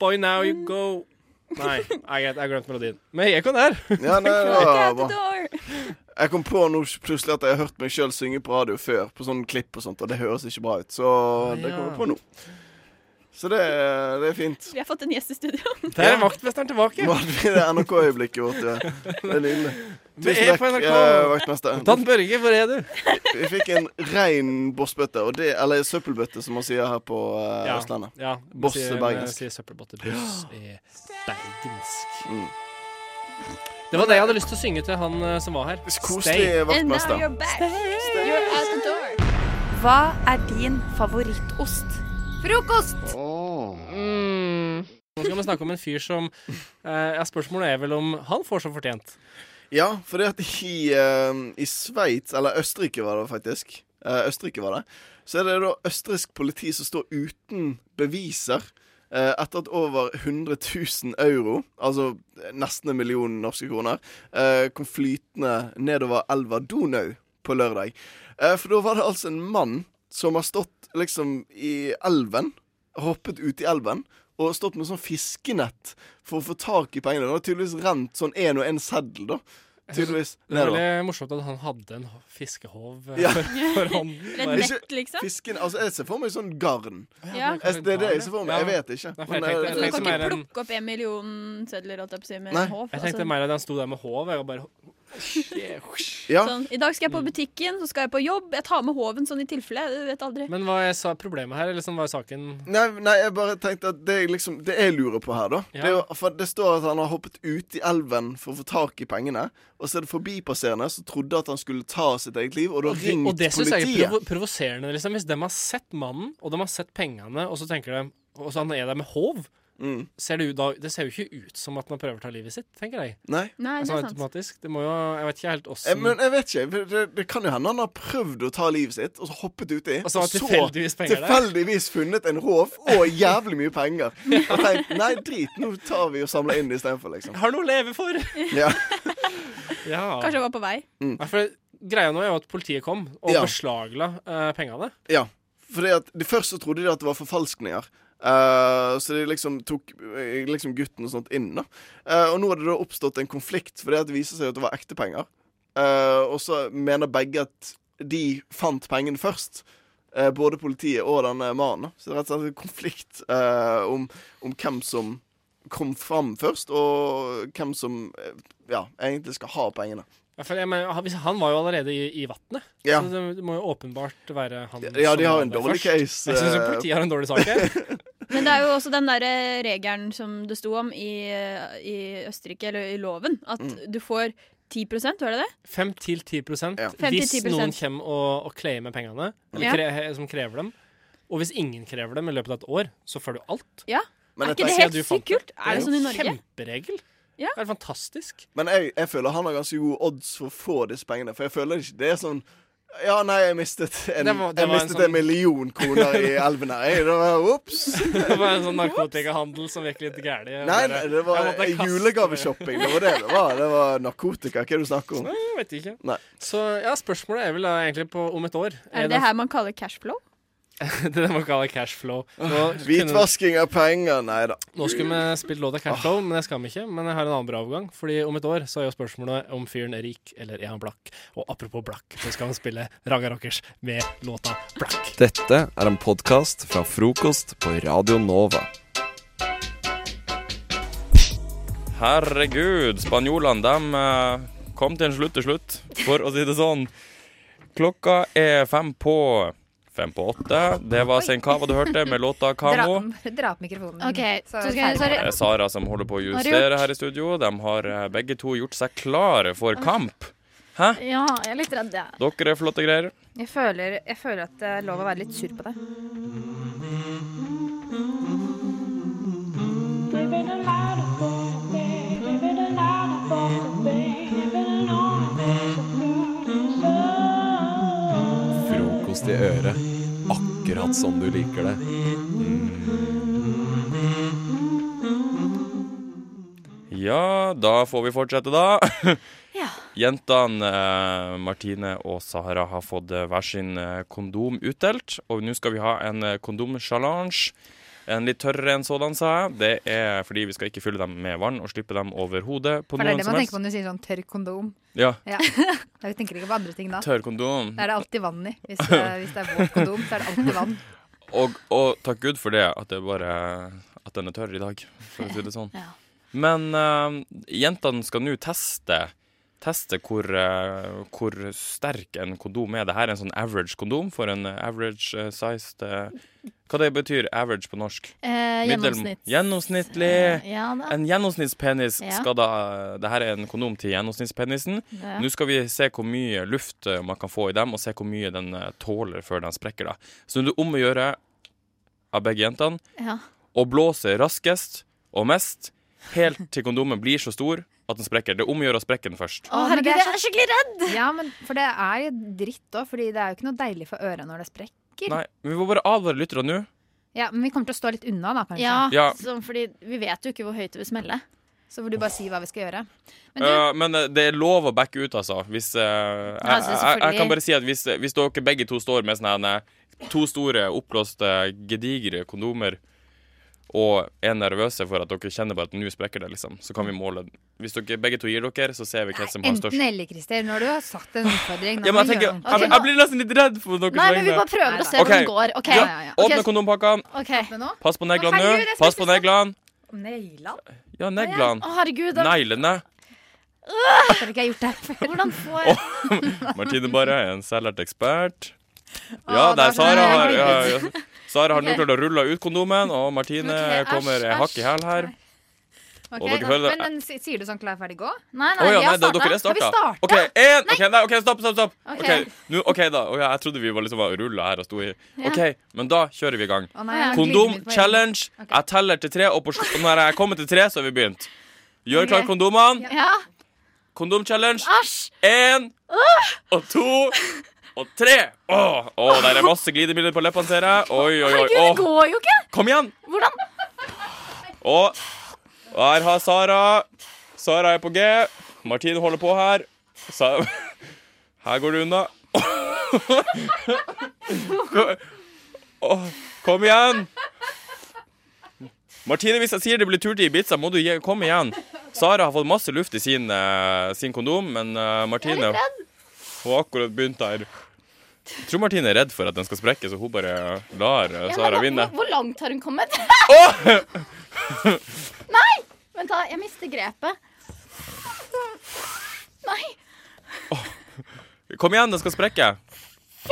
Speaker 2: Boy, now you go. Nei, jeg, jeg glemte melodien. Men jeg kom der.
Speaker 6: ja, nei, det var
Speaker 7: Walk out
Speaker 6: bra.
Speaker 7: the door.
Speaker 6: Jeg kom på nå plutselig at jeg har hørt meg sjøl synge på radio før, på sånne klipp og sånt, og det høres ikke bra ut, så det
Speaker 2: Ja.
Speaker 6: kommer jeg på nå. Så det, det er fint.
Speaker 7: Vi har fått en gjest i studio.
Speaker 2: Der er vaktmesteren tilbake.
Speaker 6: Nå hadde vi det NRK-øyeblikket vårt. Ja. Det er nydelig.
Speaker 2: Vi
Speaker 6: Tusen
Speaker 2: er på
Speaker 6: takk,
Speaker 2: NRK.
Speaker 6: eh, vaktmester.
Speaker 2: Dan Børge, hvor er du?
Speaker 6: Vi fikk en rein bossbøtte, og det, eller søppelbøtte, som man sier her på eh, Østlandet.
Speaker 2: Ja,
Speaker 6: Boss
Speaker 2: sier- eh,
Speaker 6: er bergensk.
Speaker 2: Sier søppelbotter. Boss er bergensk.
Speaker 6: Mm.
Speaker 2: Det var det jeg hadde lyst til å synge til han eh, som var her. Stay.
Speaker 6: Koselig
Speaker 7: And now
Speaker 6: vaktmester.
Speaker 7: you're back. You're out the door.
Speaker 4: Hva er din favorittost? Frokost!
Speaker 2: Mm. Nå skal vi snakke om en fyr som eh, ja, Spørsmålet er vel om han får som fortjent.
Speaker 6: ehm, Ja, for det at i, eh, i Sveits, eller Østerrike var det faktisk eh, Østerrike var det. Så er det da østerriksk politi som står uten beviser eh, etter at over 100 000 euro, altså nesten en million norske kroner, eh, kom flytende nedover elva Donau på lørdag. Eh, for da var det altså en mann som har stått liksom i elven, hoppet ut i elven, og stått med sånn fiskenett for å få tak i pengene. Det har tydeligvis rent sånn én og én seddel, da. Tydeligvis.
Speaker 2: Det var
Speaker 6: nedover.
Speaker 2: veldig morsomt at han hadde en ho- fiskehov eh,
Speaker 6: Ja.
Speaker 2: for, for hånden.
Speaker 7: Eller
Speaker 2: Bare-
Speaker 6: Hvis-
Speaker 7: nett, liksom.
Speaker 6: Fisken, altså Jeg ser for meg sånn garn.
Speaker 7: Ja.
Speaker 6: Jeg, det er det jeg ser for meg. Jeg vet ikke.
Speaker 2: Ja, for jeg
Speaker 6: Men,
Speaker 2: tenkte-
Speaker 6: eh,
Speaker 7: Så du
Speaker 2: jeg
Speaker 7: kan
Speaker 2: tenkte mer
Speaker 7: ikke
Speaker 2: enn-
Speaker 7: plukke opp en million sedler holdt jeg på å si, med
Speaker 6: Nei.
Speaker 7: en håv?
Speaker 2: Jeg tenkte
Speaker 7: altså.
Speaker 2: mer at han sto der med håvet og bare
Speaker 6: ja.
Speaker 7: Sånn, I dag skal jeg på butikken, så skal jeg på jobb. Jeg tar med håven sånn i tilfelle. Du vet aldri.
Speaker 2: Men hva er sa, problemet her? Liksom, hva er saken?
Speaker 6: Nei, nei, jeg bare tenkte at det, er liksom, det jeg lurer på her, da det,
Speaker 2: Ja.
Speaker 6: er jo- for det står at han har hoppet ut i elven for å få tak i pengene. Og så er det forbipasserende som trodde at han skulle ta sitt eget liv, og da
Speaker 2: Og det,
Speaker 6: ringt
Speaker 2: og det synes jeg er
Speaker 6: politiet.
Speaker 2: provo provoserende. Liksom. Hvis de har sett mannen, og de har sett pengene, og så tenker de Og så han er der med håv,
Speaker 6: Mm.
Speaker 2: ser det, ut, da, det ser jo ikke ut som at man prøver å ta livet sitt, tenker jeg.
Speaker 6: Nei.
Speaker 7: Nei, det
Speaker 2: Altså,
Speaker 7: er sant.
Speaker 2: automatisk. Det må jo Jeg vet ikke helt
Speaker 6: Eh,
Speaker 2: åssen
Speaker 6: Men jeg vet ikke. Det, det, det kan jo hende han har prøvd å ta livet sitt, og så hoppet uti.
Speaker 2: Og så har tilfeldigvis penger der.
Speaker 6: tilfeldigvis funnet en håv og jævlig mye penger. Og tenkt nei, drit, nå tar vi og samler inn det istedenfor, liksom.
Speaker 2: Har noe å leve for!
Speaker 6: Ja.
Speaker 2: Ja.
Speaker 7: Kanskje jeg var på vei.
Speaker 2: Nei, for greia nå er jo at politiet kom og
Speaker 6: Mm. Ja.
Speaker 2: beslagla eh, pengene.
Speaker 6: Ja, fordi at de først så trodde de at det var forfalskninger. Eh, så de liksom tok eh, liksom gutten og sånt inn. da Eh, Og nå har det da oppstått en konflikt, fordi at det viser seg at det var ekte penger. Eh, og så mener begge at de fant pengene først. Eh, både politiet og denne mannen. da. Så det er rett og slett en konflikt eh, om, om hvem som kom fram først, og hvem som eh, ja, egentlig skal ha pengene.
Speaker 2: Ja, for jeg mener, han- hvis- han var jo allerede i, i vannet,
Speaker 6: Ja.
Speaker 2: så det, det må jo åpenbart være han
Speaker 6: Ja,
Speaker 2: som
Speaker 6: de har
Speaker 2: var
Speaker 6: en
Speaker 2: der
Speaker 6: dårlig
Speaker 2: først.
Speaker 6: case.
Speaker 2: Jeg syns
Speaker 6: eh,
Speaker 2: politiet har en dårlig sak her.
Speaker 7: Men det er jo også den derre regelen som det sto om i, eh, i Østerrike, eller i loven, at du får 10 var det det?
Speaker 2: 5-10
Speaker 6: Ja.
Speaker 7: Fem til
Speaker 2: hvis
Speaker 7: ti prosent.
Speaker 2: noen kommer og, og claimer pengene, eller
Speaker 7: Ja.
Speaker 2: kre, som krever dem. Og hvis ingen krever dem i løpet av et år, så får du alt.
Speaker 6: men
Speaker 7: er
Speaker 6: jeg
Speaker 7: ikke det
Speaker 2: tenker-
Speaker 7: helt
Speaker 2: Du fant
Speaker 7: sykt kult? Er det
Speaker 2: jo
Speaker 7: sånn i Norge?
Speaker 2: Kjemperegel.
Speaker 7: Ja.
Speaker 2: Det er fantastisk.
Speaker 6: Men jeg, jeg føler han har ganske gode odds for å få disse pengene. For jeg føler ikke det er sånn Ja, nei, jeg mistet en,
Speaker 2: Det var- det
Speaker 6: jeg
Speaker 2: var en
Speaker 6: mistet en,
Speaker 2: sånn-
Speaker 6: million kroner i elven her. Jeg, det var, ups.
Speaker 2: Det var en sånn narkotikahandel som gikk litt gæli. Jeg
Speaker 6: Nei,
Speaker 2: bare-
Speaker 6: nei, det var
Speaker 2: Jeg måtte kaste-
Speaker 6: julegaveshopping. Det var det det var. Det var narkotika. Hva er det du snakker om?
Speaker 2: Nei, jeg vet ikke.
Speaker 6: Nei.
Speaker 2: Så ja, spørsmålet er vel da egentlig på om et år.
Speaker 7: Er det det her man kaller cashflow?
Speaker 2: det er det man kaller cashflow. Nå, kunne,
Speaker 6: Hvitvasking av penger. Nei da.
Speaker 2: nå skulle vi spilt låta Cashflow, men det skal vi ikke. Men jeg har en annen bra overgang, Fordi om et år så er jo spørsmålet om fyren er rik eller er han blakk. Og apropos blakk, så skal han spille Raga Rockers med låta Blakk.
Speaker 1: Dette er en podkast fra frokost på Radio Nova.
Speaker 8: Herregud, spanjolene de eh, kom til en slutt til slutt, for å si det sånn. Klokka er fem på fem på åtte. Det var Sein Cava du hørte med låta
Speaker 9: Dra,
Speaker 8: Kamo.
Speaker 9: dra opp mikrofonen.
Speaker 10: Ok,
Speaker 9: så
Speaker 10: to
Speaker 9: er vi
Speaker 10: sekunder,
Speaker 9: ferdig.
Speaker 10: sorry.
Speaker 8: Det er Sara som holder på å
Speaker 7: Har du
Speaker 8: justere her i studio. De har eh, begge to gjort seg klare for kamp.
Speaker 10: Ja, jeg er litt redd, jeg.
Speaker 8: Dere er flotte greier.
Speaker 9: Jeg føler, jeg føler at det er lov å være litt sur på deg.
Speaker 1: Frokost i øret, akkurat som du liker det.
Speaker 8: Ja, da får vi fortsette, da.
Speaker 10: Ja.
Speaker 8: Jentene eh, Martine og Sahara har fått eh, hver sin eh, kondom utdelt, og nå skal vi ha en eh, kondomchallenge. En litt tørrere enn sådan, sa jeg. Det er fordi vi skal ikke fylle dem med vann og slippe dem over hodet på
Speaker 9: For det er
Speaker 8: noen
Speaker 9: det
Speaker 8: som
Speaker 9: man tenker
Speaker 8: helst.
Speaker 9: på når du sier sånn tørr kondom.
Speaker 8: Ja,
Speaker 9: Ja. Ja, Vi tenker ikke på andre ting da.
Speaker 8: tørr kondom.
Speaker 9: Da er det alltid vann i. Hvis, eh, hvis det er våt kondom, så er det alltid vann.
Speaker 8: Og, og takk Gud for det, at det bare At den er tørr i dag, for å si det sånn.
Speaker 10: Ja.
Speaker 8: Men eh, jentene skal nå teste Teste hvor, eh, hvor sterk en kondom er. Dette er en sånn average kondom for en eh, average eh, sized eh, Hva det betyr average på norsk?
Speaker 10: Eh,
Speaker 8: Middel-
Speaker 10: gjennomsnitt.
Speaker 8: Gjennomsnittlig.
Speaker 10: Eh, Ja da.
Speaker 8: En gjennomsnittspenis
Speaker 10: Ja.
Speaker 8: skal da Dette er en kondom til gjennomsnittspenisen.
Speaker 10: Ja.
Speaker 8: Nå skal vi se hvor mye luft eh, man kan få i dem, og se hvor mye den eh, tåler før den sprekker. Da. Så det er om å gjøre av begge jentene
Speaker 10: Ja.
Speaker 8: å blåse raskest og mest helt til kondomen blir så stor at den sprekker. Det er om å gjøre å sprekke den først.
Speaker 10: Å,
Speaker 9: men
Speaker 10: herregud,
Speaker 9: det er
Speaker 10: jeg er skikkelig redd!
Speaker 9: Ja, men for det er jo dritt òg, fordi det er jo ikke noe deilig for øret når det sprekker.
Speaker 8: Nei, men Vi må bare advare lytterne nå.
Speaker 9: Ja, Men vi kommer til å stå litt unna, da, kanskje.
Speaker 7: Ja,
Speaker 8: Ja.
Speaker 7: Sånn, fordi vi vet jo ikke hvor høyt det vil smelle.
Speaker 9: Så får du bare si hva vi skal gjøre. Men du,
Speaker 8: Eh, Men eh, det er lov å backe ut, altså. Hvis, eh, jeg,
Speaker 7: Altså,
Speaker 8: jeg, jeg
Speaker 7: selvfølgelig.
Speaker 8: kan bare si at hvis, eh, hvis dere begge to står med sånne her, eh, to store, oppblåste, gedigre kondomer og er nervøse for at dere kjenner bare at nå sprekker det, liksom, så kan vi måle Hvis dere begge to gir dere, så ser vi hvem som har
Speaker 9: enten
Speaker 8: størst.
Speaker 9: eller, Christer, når du har sagt en utfordring nå
Speaker 8: Ja, men jeg,
Speaker 9: må vi
Speaker 8: tenker,
Speaker 9: gjøre noe.
Speaker 8: jeg, jeg blir nesten litt redd for dere.
Speaker 7: Nei, men vi bare prøver å se
Speaker 8: Ok.
Speaker 7: hvordan det går. OK.
Speaker 8: ja,
Speaker 9: ja, ja.
Speaker 7: Ok,
Speaker 8: Åpne kondompakkene.
Speaker 7: ok.
Speaker 9: Men nå?
Speaker 8: Pass Øh. på
Speaker 9: Å,
Speaker 8: neglene
Speaker 9: herregud,
Speaker 8: nå.
Speaker 9: jeg
Speaker 8: Pass
Speaker 9: skulle
Speaker 8: på neglene.
Speaker 9: Neglene?
Speaker 8: Ja, neglene.
Speaker 7: sånn. Å, herregud. Da,
Speaker 8: Neglene.
Speaker 9: Hvorfor har ikke jeg gjort det her før?
Speaker 7: hvordan får jeg
Speaker 8: Martine Barre er en selvlært ekspert.
Speaker 9: Å,
Speaker 8: Ja,
Speaker 9: det var
Speaker 8: der
Speaker 9: så
Speaker 8: Sara har
Speaker 9: deilig.
Speaker 8: ja, ja. Sara har nå klart å rulle ut kondomen, og Martine
Speaker 7: Ok, æsj,
Speaker 8: kommer
Speaker 7: æsj.
Speaker 8: hakk i hæl her.
Speaker 9: Ok,
Speaker 8: Og dere hører-
Speaker 9: men, men si- sier du sånn klar, ferdig, gå?
Speaker 7: Nei,
Speaker 8: Å
Speaker 7: nei,
Speaker 8: ja,
Speaker 7: vi
Speaker 8: nei,
Speaker 7: har
Speaker 8: da, dere er
Speaker 7: starta.
Speaker 9: Har vi
Speaker 8: starta.
Speaker 9: starta?
Speaker 8: OK, én! OK, nei, ok, stopp, stopp. stopp
Speaker 7: Ok.
Speaker 8: OK, nå, ok da. Å ja, jeg trodde vi var liksom rulla her og sto i OK, men da kjører vi i gang.
Speaker 9: Å, nei, jeg har glidet mitt på egen.
Speaker 8: Kondom-challenge.
Speaker 9: Ok.
Speaker 8: Jeg teller til tre, og på, sl- når jeg kommer til tre, så har vi begynt. Gjør klar
Speaker 9: Ok.
Speaker 8: kondomene.
Speaker 7: Ja.
Speaker 8: Kondom-challenge.
Speaker 7: Æsj.
Speaker 8: Én og to og tre. Å, å, der er masse glidemidler på leppene, ser jeg. Oi, oi, oi.
Speaker 7: Herregud, det
Speaker 8: Å,
Speaker 7: går jo ikke!
Speaker 8: kom igjen.
Speaker 7: Hvordan?
Speaker 8: Og her har Sara. Sara er på G. Martine holder på her. Sa her går det unna. Ko- Åh, Kom igjen! Martine, hvis jeg sier det blir tur til Ibiza, må du gi- komme igjen. Sara har fått masse luft i sin, eh, sin kondom, men eh, Martine Hun har akkurat begynt her. Jeg tror Martine er redd for at den skal sprekke, så hun bare lar eh,
Speaker 7: Ja,
Speaker 8: Sara
Speaker 7: men da-
Speaker 8: vinne.
Speaker 7: Hvor, hvor langt har hun kommet? Nei! Vent, da. Jeg mister grepet. Nei.
Speaker 8: Kom igjen, den skal sprekke.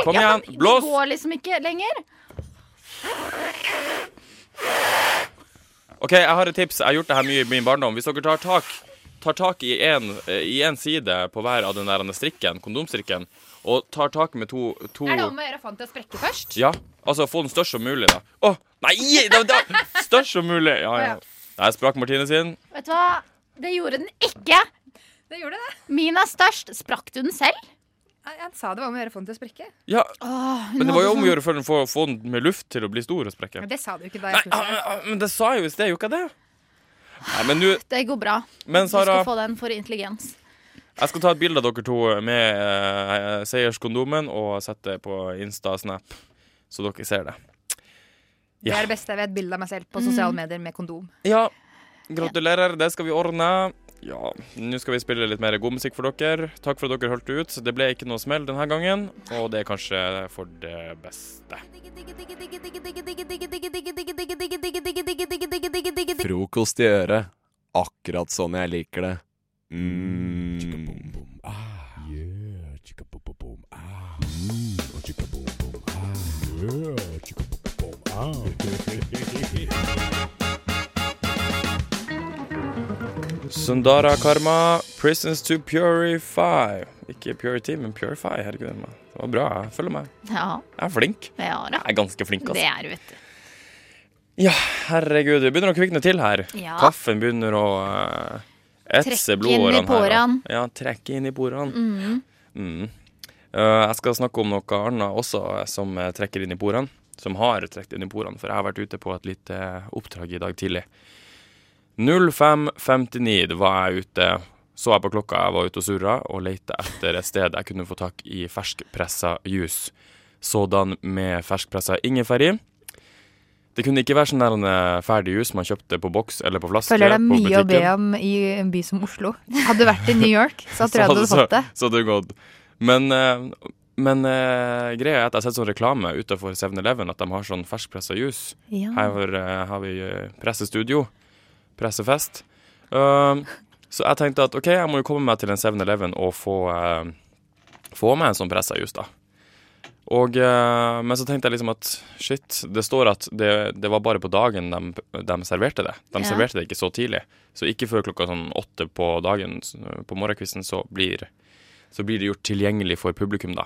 Speaker 8: Kom
Speaker 7: Ja,
Speaker 8: igjen,
Speaker 7: men
Speaker 8: blås!
Speaker 7: Det går liksom ikke lenger.
Speaker 8: OK, jeg har et tips. Jeg har gjort det her mye i min barndom. Hvis dere tar tak, tar tak i en- eh, i én side på hver av den der strikken, kondomstrikken, og tar tak med to, to
Speaker 9: Er det om å gjøre å få den til å sprekke først?
Speaker 8: Ja, altså få den størst som mulig, da. Å, nei! Da, da, størst som mulig. Ja, ja. Der sprakk Martine sin.
Speaker 7: Vet du hva? Det gjorde den ikke.
Speaker 9: Det gjorde det.
Speaker 7: Min er størst. Sprakk du den selv?
Speaker 9: Jeg, jeg sa det var om å gjøre å få den til å sprekke.
Speaker 8: Ja,
Speaker 7: Åh, hun
Speaker 8: men det var jo
Speaker 7: hadde
Speaker 8: om å gjøre for å få- få den med luft til å bli stor og
Speaker 9: sånn-
Speaker 8: sprekke.
Speaker 9: Men det sa du ikke da
Speaker 8: Nei,
Speaker 9: jeg spurte.
Speaker 8: ah, ah, men det sa jeg jo i sted, gjorde ikke jeg det? Nei, men nå
Speaker 7: sånn- Det går bra.
Speaker 8: Men Sara
Speaker 7: Du skal få den for intelligens.
Speaker 8: Jeg skal ta et bilde av dere to med eh, seierskondomen og sette det på Insta og Snap, så dere ser det.
Speaker 9: Det er det beste jeg vet. Bilde av meg selv på
Speaker 7: Mm.
Speaker 9: sosiale medier med kondom.
Speaker 8: Ja, gratulerer, det skal vi ordne. Ja, nå skal vi spille litt mer god musikk for dere. Takk for at dere holdt ut. Det ble ikke noe smell denne gangen, og det er kanskje for det beste.
Speaker 1: Frokost i øret. Akkurat sånn jeg liker det. Mm.
Speaker 8: Sundara Karma, Prisons to Purify. Ikke Purity, men Purify. Herregud, mann. det var bra. Jeg følger med.
Speaker 7: Ja,
Speaker 8: Jeg er flink.
Speaker 7: det er det.
Speaker 8: Jeg er ganske flink, altså.
Speaker 7: Det er du, vet du.
Speaker 8: Ja, herregud, det begynner å kvikne til her.
Speaker 7: Ja.
Speaker 8: Kaffen begynner å eh, etse
Speaker 7: Trekke
Speaker 8: blodårene
Speaker 7: inn i porene.
Speaker 8: her, da. Ja, trekke inn i porene. Mm. Eh, jeg skal snakke om noe annet også eh, som eh, trekker inn i porene. Som har trukket inn i porene, for jeg har vært ute på et lite eh, oppdrag i dag tidlig. 05.59 da var jeg ute. Så jeg på klokka, jeg var ute og surra og lette etter et sted jeg kunne få tak i ferskpressa juice. Sådan med ferskpressa ingefær i. Det kunne ikke være sånn der en eh, ferdig juice man kjøpte på boks eller på flaske.
Speaker 9: Føler det er
Speaker 8: på
Speaker 9: mye å be
Speaker 8: butikken.
Speaker 9: om i en by som Oslo. Hadde du vært i New York, så tror jeg
Speaker 8: Så
Speaker 9: du hadde
Speaker 8: så-
Speaker 9: fått det.
Speaker 8: Så hadde det gått. Men, eh, men eh, greia er at jeg har sett sånn reklame utenfor 7-Eleven at de har sånn ferskpressa juice. Her
Speaker 9: Ja.
Speaker 8: hvor, eh, har vi eh, pressestudio, pressefest. Um, så jeg tenkte at OK, jeg må jo komme meg til en 7-Eleven og få, eh, få meg en sånn pressa juice, da. Og, eh, men så tenkte jeg liksom at shit, det står at det, det var bare på dagen de, de serverte det. De
Speaker 7: Ja.
Speaker 8: serverte det ikke så tidlig. Så ikke før klokka sånn åtte på dagen s- på morgenkvisten så blir, så blir det gjort tilgjengelig for publikum, da.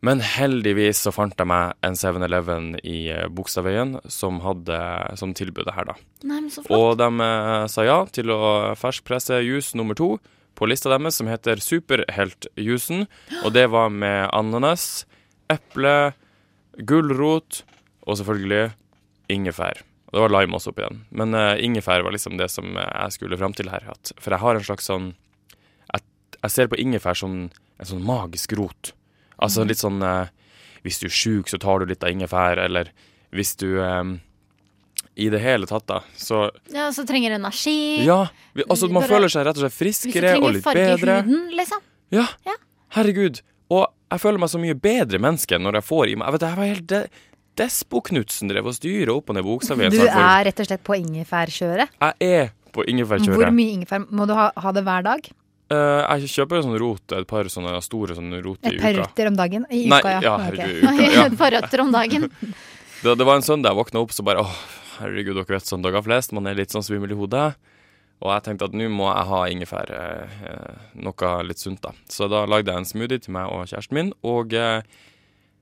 Speaker 8: Men heldigvis så fant jeg meg en 7-Eleven i eh, Bogstadveien som hadde som tilbudet her, da.
Speaker 11: Nei, men så
Speaker 8: Og de eh, sa ja til å ferskpresse juice nummer to på lista deres, som heter Superheltjuicen. Og det var med ananas, eple, gulrot og selvfølgelig ingefær. Og det var lime også oppi den. Men eh, ingefær var liksom det som eh, jeg skulle fram til her. At, for jeg har en slags sånn jeg, jeg ser på ingefær som en sånn magisk rot. Altså litt sånn eh, Hvis du er sjuk, så tar du litt av ingefær, eller hvis du eh, I det hele tatt, da, så
Speaker 10: Ja, så trenger du energi.
Speaker 8: ja, vi, altså Man
Speaker 10: Bare-
Speaker 8: føler seg rett og slett
Speaker 10: Hvis du
Speaker 8: friskere og
Speaker 10: trenger
Speaker 8: litt
Speaker 10: farge i
Speaker 8: bedre.
Speaker 10: huden, liksom.
Speaker 8: Ja, herregud. Og jeg føler meg så mye bedre menneske når jeg får i meg Jeg vet, jeg var helt de Despo-Knutsen drev og styra opp og ned Bogstadveien.
Speaker 9: Du
Speaker 8: så jeg føler-
Speaker 9: er rett og slett på ingefærkjøret.
Speaker 8: Jeg er på ingefærkjøret.
Speaker 9: Hvor mye ingefær må du ha, ha det hver dag?
Speaker 8: Eh, jeg kjøper en sånn rot, et par sånne store sånne rot i
Speaker 9: Et par
Speaker 8: uka.
Speaker 9: røtter om dagen? I
Speaker 8: Nei,
Speaker 9: uka, ja.
Speaker 8: ja,
Speaker 9: Ok.
Speaker 8: herregud, uka, ja.
Speaker 10: Et par røtter om dagen.
Speaker 8: Det, det var en søndag jeg våkna opp, så bare åh, herregud, dere vet sånn dager flest, man er litt sånn svimmel i hodet. Og jeg tenkte at nå må jeg ha ingefær, eh, eh, noe litt sunt da. Så da lagde jeg en smoothie til meg og kjæresten min, og eh,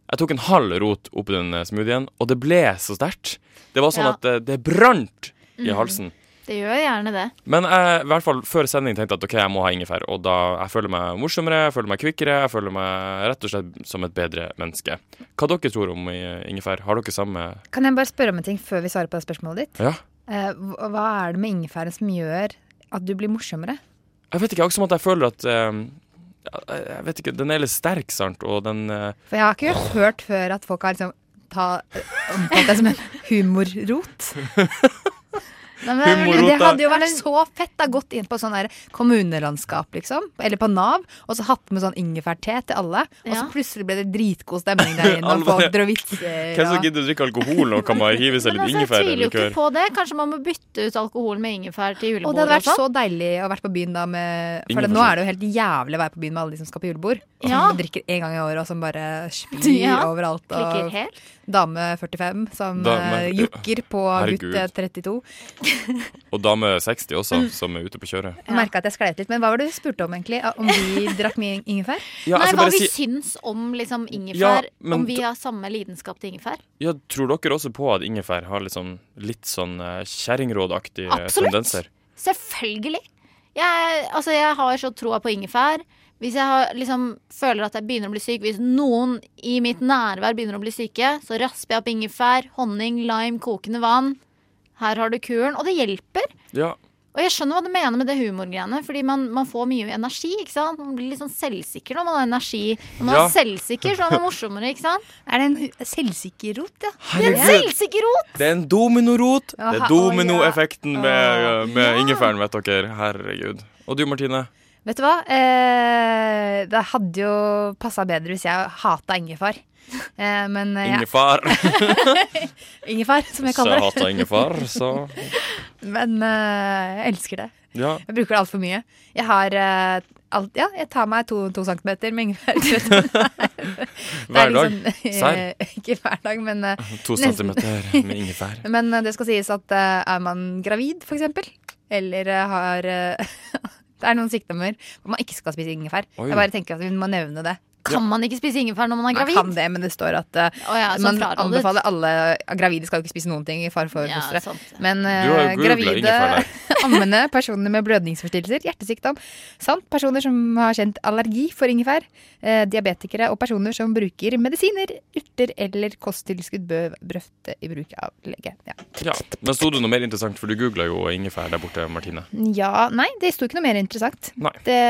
Speaker 8: jeg tok en halv rot oppi den eh, smoothien, og det ble så sterkt. Det var sånn
Speaker 7: Ja.
Speaker 8: at eh, det brant i
Speaker 7: Mm.
Speaker 8: halsen.
Speaker 7: Det gjør gjerne det.
Speaker 8: Men jeg i hvert fall før sending tenkte jeg at ok, jeg må ha ingefær. Og da jeg føler meg morsommere, jeg føler meg kvikkere, jeg føler meg rett og slett som et bedre menneske. Hva dere tror om eh, ingefær? Har dere samme
Speaker 9: Kan jeg bare spørre om en ting før vi svarer på det spørsmålet ditt?
Speaker 8: Ja.
Speaker 9: Eh, hva- hva er det med ingefæren som gjør at du blir morsommere?
Speaker 8: Jeg vet ikke, akkurat som at jeg føler at eh, jeg- Jeg vet ikke, den er litt sterk, sant? Og den eh,
Speaker 9: For jeg har ikke hørt før at folk har liksom ta, omtalt deg som en humorrot. Nei, men det er vel-
Speaker 8: Humorrot,
Speaker 9: det
Speaker 8: da.
Speaker 9: hadde jo vært så fett da, gått inn på sånn der kommunelandskap, liksom. Eller på Nav, og så hatt med sånn ingefærte til alle. Og så plutselig ble det dritgod stemning der inne, og
Speaker 8: Alle bare-
Speaker 9: folk dro vitser.
Speaker 8: Hvem som
Speaker 9: og-
Speaker 8: gidder å drikke alkohol når kan man hive
Speaker 9: Men altså,
Speaker 8: seg litt
Speaker 9: jeg
Speaker 8: ingefær
Speaker 9: tviler
Speaker 8: eller
Speaker 9: jo ikke
Speaker 8: likør?
Speaker 7: På det, kanskje man må bytte ut alkohol med ingefær til
Speaker 9: Og
Speaker 7: julebord
Speaker 9: det hadde vært
Speaker 7: og
Speaker 9: så
Speaker 7: sånn.
Speaker 9: deilig å vært på byen da med For
Speaker 7: Ingen
Speaker 9: det, nå
Speaker 7: forskjell.
Speaker 9: er det jo helt jævlig å være på byen med alle de som skal på julebord. Som
Speaker 7: Ja.
Speaker 9: drikker én gang i året, og som bare spyr
Speaker 7: Ja.
Speaker 9: overalt.
Speaker 7: Klikker
Speaker 9: Og
Speaker 7: helt.
Speaker 9: dame 45 som
Speaker 8: Dame-
Speaker 9: eh, jokker på
Speaker 8: Herregud.
Speaker 9: gutt eh, 32.
Speaker 8: Og dame 60
Speaker 9: Mm.
Speaker 8: også, som er ute på kjøret.
Speaker 9: Jeg merket at jeg skleit litt, men hva var det du spurte om egentlig? Om vi drakk mye ingefær?
Speaker 8: Ja, jeg
Speaker 7: Nei,
Speaker 8: skal
Speaker 7: hva
Speaker 8: bare
Speaker 7: vi
Speaker 8: si-
Speaker 7: syns om liksom,
Speaker 8: Ja,
Speaker 7: ingefær.
Speaker 8: men
Speaker 7: om vi
Speaker 8: d-
Speaker 7: har samme lidenskap til ingefær.
Speaker 8: Ja, tror dere også på at ingefær har litt sånn, litt sånn eh, kjerringrådaktige
Speaker 7: Absolutt.
Speaker 8: tendenser?
Speaker 7: Selvfølgelig. Jeg, altså, jeg har så troa på ingefær. Hvis jeg har, liksom, føler at jeg begynner å bli syk, hvis noen i mitt nærvær begynner å bli syke, så rasper jeg opp ingefær, honning, lime, kokende vann. Her har du kuren. Og det hjelper.
Speaker 8: Ja.
Speaker 7: Og jeg skjønner hva du mener med det humorgreiene, fordi man, man får mye energi. ikke sant? Man blir litt sånn selvsikker når man har energi. Når man
Speaker 9: Ja.
Speaker 7: er selvsikker, så er man morsommere, ikke sant?
Speaker 9: Er det en selvsikker rot, ja?
Speaker 7: Det er en
Speaker 8: Herregud.
Speaker 7: selvsikker rot!
Speaker 8: Det er en dominorot! Det
Speaker 9: Jaha,
Speaker 8: er
Speaker 9: å,
Speaker 8: dominoeffekten med, eh, med ingefæren, vet dere. Herregud. Og du, Martine?
Speaker 9: Vet du hva? Eh, det hadde jo passa bedre hvis jeg hata ingefær. Eh, men jeg-
Speaker 8: Ingefær.
Speaker 9: Ingefær, som jeg
Speaker 8: Så
Speaker 9: kaller
Speaker 8: jeg
Speaker 9: det.
Speaker 8: hater ingefær, så
Speaker 9: Men eh, jeg elsker det.
Speaker 8: Ja.
Speaker 9: Jeg bruker det altfor mye. Jeg har eh, alt, Ja, jeg tar meg to, to centimeter med ingefær. du vet. sånn- Det er
Speaker 8: Hver dag?
Speaker 9: liksom-
Speaker 8: Serr?
Speaker 9: ikke hver dag, men eh,
Speaker 8: To
Speaker 9: nesten.
Speaker 8: centimeter med ingefær.
Speaker 9: Men eh, det skal sies at eh, er man gravid, for eksempel, eller eh, har eh, Det er noen sykdommer hvor man ikke skal spise ingefær.
Speaker 7: Oi.
Speaker 9: Jeg bare tenker at vi må nevne det.
Speaker 7: Kan man ikke spise ingefær når man er
Speaker 9: Man
Speaker 7: gravid?
Speaker 9: kan det, men det står at eh,
Speaker 7: Å ja, så
Speaker 9: man
Speaker 7: frarådet.
Speaker 9: anbefaler alle Gravide skal jo ikke spise noen ting i fare for
Speaker 7: Ja,
Speaker 9: fosteret.
Speaker 7: sant,
Speaker 9: Men eh,
Speaker 7: Du har jo googlet
Speaker 9: gravide,
Speaker 7: ingefær
Speaker 9: ammende, personer med blødningsforstyrrelser, hjertesykdom samt personer som har kjent allergi for ingefær, eh, diabetikere og personer som bruker medisiner, urter eller kosttilskudd bør brøfte i bruk av lege. Ja.
Speaker 8: Ja, Men sto det noe mer interessant, for du googla jo ingefær der borte, Martine.
Speaker 9: Ja, nei, det sto ikke noe mer interessant. Det,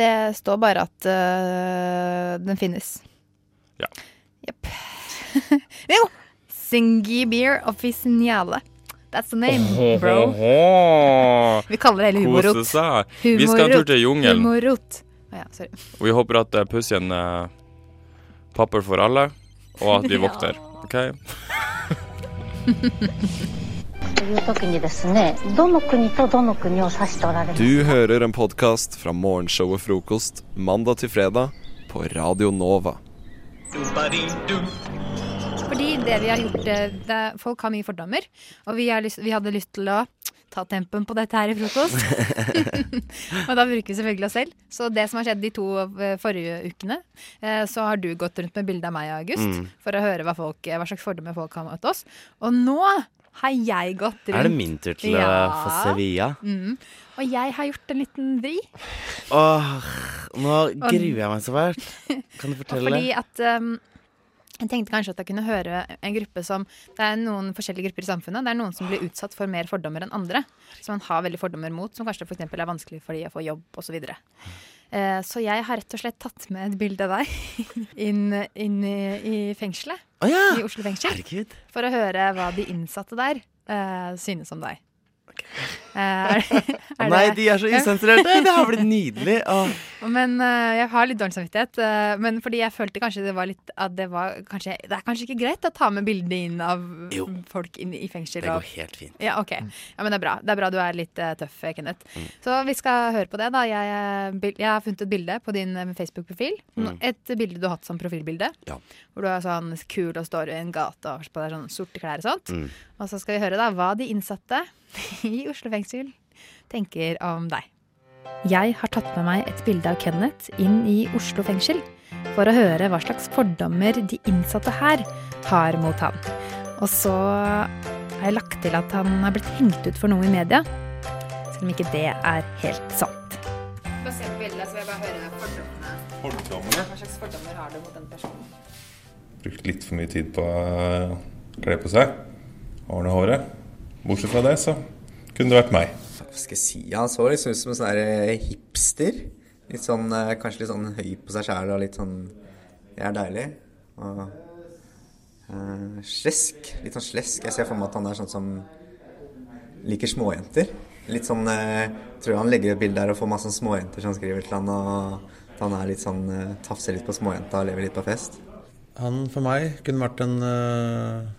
Speaker 9: det står bare at øh, den finnes.
Speaker 8: Ja.
Speaker 9: Jepp. jo! Singi beer officinale. That's the name, bro.
Speaker 8: Ohoho.
Speaker 9: Vi kaller det hele humorrot.
Speaker 8: Kose seg. Vi skal en tur til jungelen.
Speaker 9: Humorrot. Å ja, sorry.
Speaker 8: Og Vi håper at eh, pussien eh, papper for alle, og at vi
Speaker 9: Ja.
Speaker 8: våkner. OK?
Speaker 12: という時にですねどの国とどの国を指しておられます
Speaker 1: Du hører en podkast fra morgenshowet Frokost mandag til fredag på Radio Nova.
Speaker 9: Fordi det vi har gjort eh, det, Folk har mye fordommer, og vi, har lyst, vi hadde lyst til å ta tempen på dette her i frokost. og da bruker vi selvfølgelig oss selv. Så det som har skjedd de to eh, forrige ukene, eh, så har du gått rundt med bilde av meg i august
Speaker 11: Mm.
Speaker 9: for å høre hva, folk, eh, hva slags fordommer folk har mot oss. Og nå har jeg gått rundt
Speaker 11: Er det min tur til å få se via?
Speaker 9: Mm. Og jeg har gjort en liten vri.
Speaker 11: Åh, nå
Speaker 9: Og-
Speaker 11: gruer jeg meg så fælt. Kan du
Speaker 9: Og
Speaker 11: fortelle?
Speaker 9: fordi at um, jeg tenkte kanskje at jeg kunne høre en gruppe som Det er noen forskjellige grupper i samfunnet. Det er noen som blir utsatt for mer fordommer enn andre. Som man har veldig fordommer mot, som kanskje for eksempel er vanskelig for de å få jobb osv. Så, videre. Eh, så jeg har rett og slett tatt med et bilde av deg inn, inn i, i fengselet. I Oslo fengsel. For å høre hva de innsatte der eh, synes om deg. Eh, er det- er
Speaker 11: Å nei,
Speaker 9: det-
Speaker 11: de er så usensurerte! Det har blitt nydelig. Åh.
Speaker 9: men eh, jeg har litt dårlig samvittighet. eh, men fordi jeg følte kanskje det var litt at det var kanskje, Det er kanskje ikke greit å ta med bildene inn av
Speaker 11: Jo.
Speaker 9: folk inn i fengsel.
Speaker 11: Det går
Speaker 9: og-
Speaker 11: helt fint. Mm.
Speaker 9: Ja, ok. Ja, men det er bra. Det er bra du er litt eh, tøff, Kenneth. Så vi skal høre på det, da. Jeg, eh, bil- jeg har funnet et bilde på din eh, Facebook-profil.
Speaker 11: Mm.
Speaker 9: Et bilde du har hatt som profilbilde. Hvor du er sånn kul og står i en gate og har på deg sånn sorte klær og sånt.
Speaker 11: Mm.
Speaker 9: Og så skal vi høre da hva de innsatte i Oslo fengsel tenker om deg. Jeg har tatt med meg et bilde av Kenneth inn i Oslo fengsel for å høre hva slags fordommer de innsatte her har mot han. Og så har jeg lagt til at han har blitt hengt ut for noe i media, selv om ikke det er helt sant. Få se på bildet, så vil jeg bare høre fordommene.
Speaker 13: Fordommene?
Speaker 9: Hva slags fordommer har du mot den personen?
Speaker 13: Brukt litt for mye tid på å eh, kle på seg. Ordne håret. Bortsett fra det, så kunne det vært meg.
Speaker 14: Hva skal jeg si? Han så liksom ut som en sånn her, eh, hipster. Litt sånn, eh, kanskje litt sånn høy på seg sjæl og litt sånn Jeg er deilig. Og eh, slesk. Litt sånn slesk. Jeg ser for meg at han er sånn som liker småjenter. Litt sånn eh, Tror han legger ut bilde der og får masse sånn småjenter som skriver til han og at han er litt sånn eh, tafser litt på småjenta og lever litt på fest.
Speaker 15: Han for meg kunne vært en eh,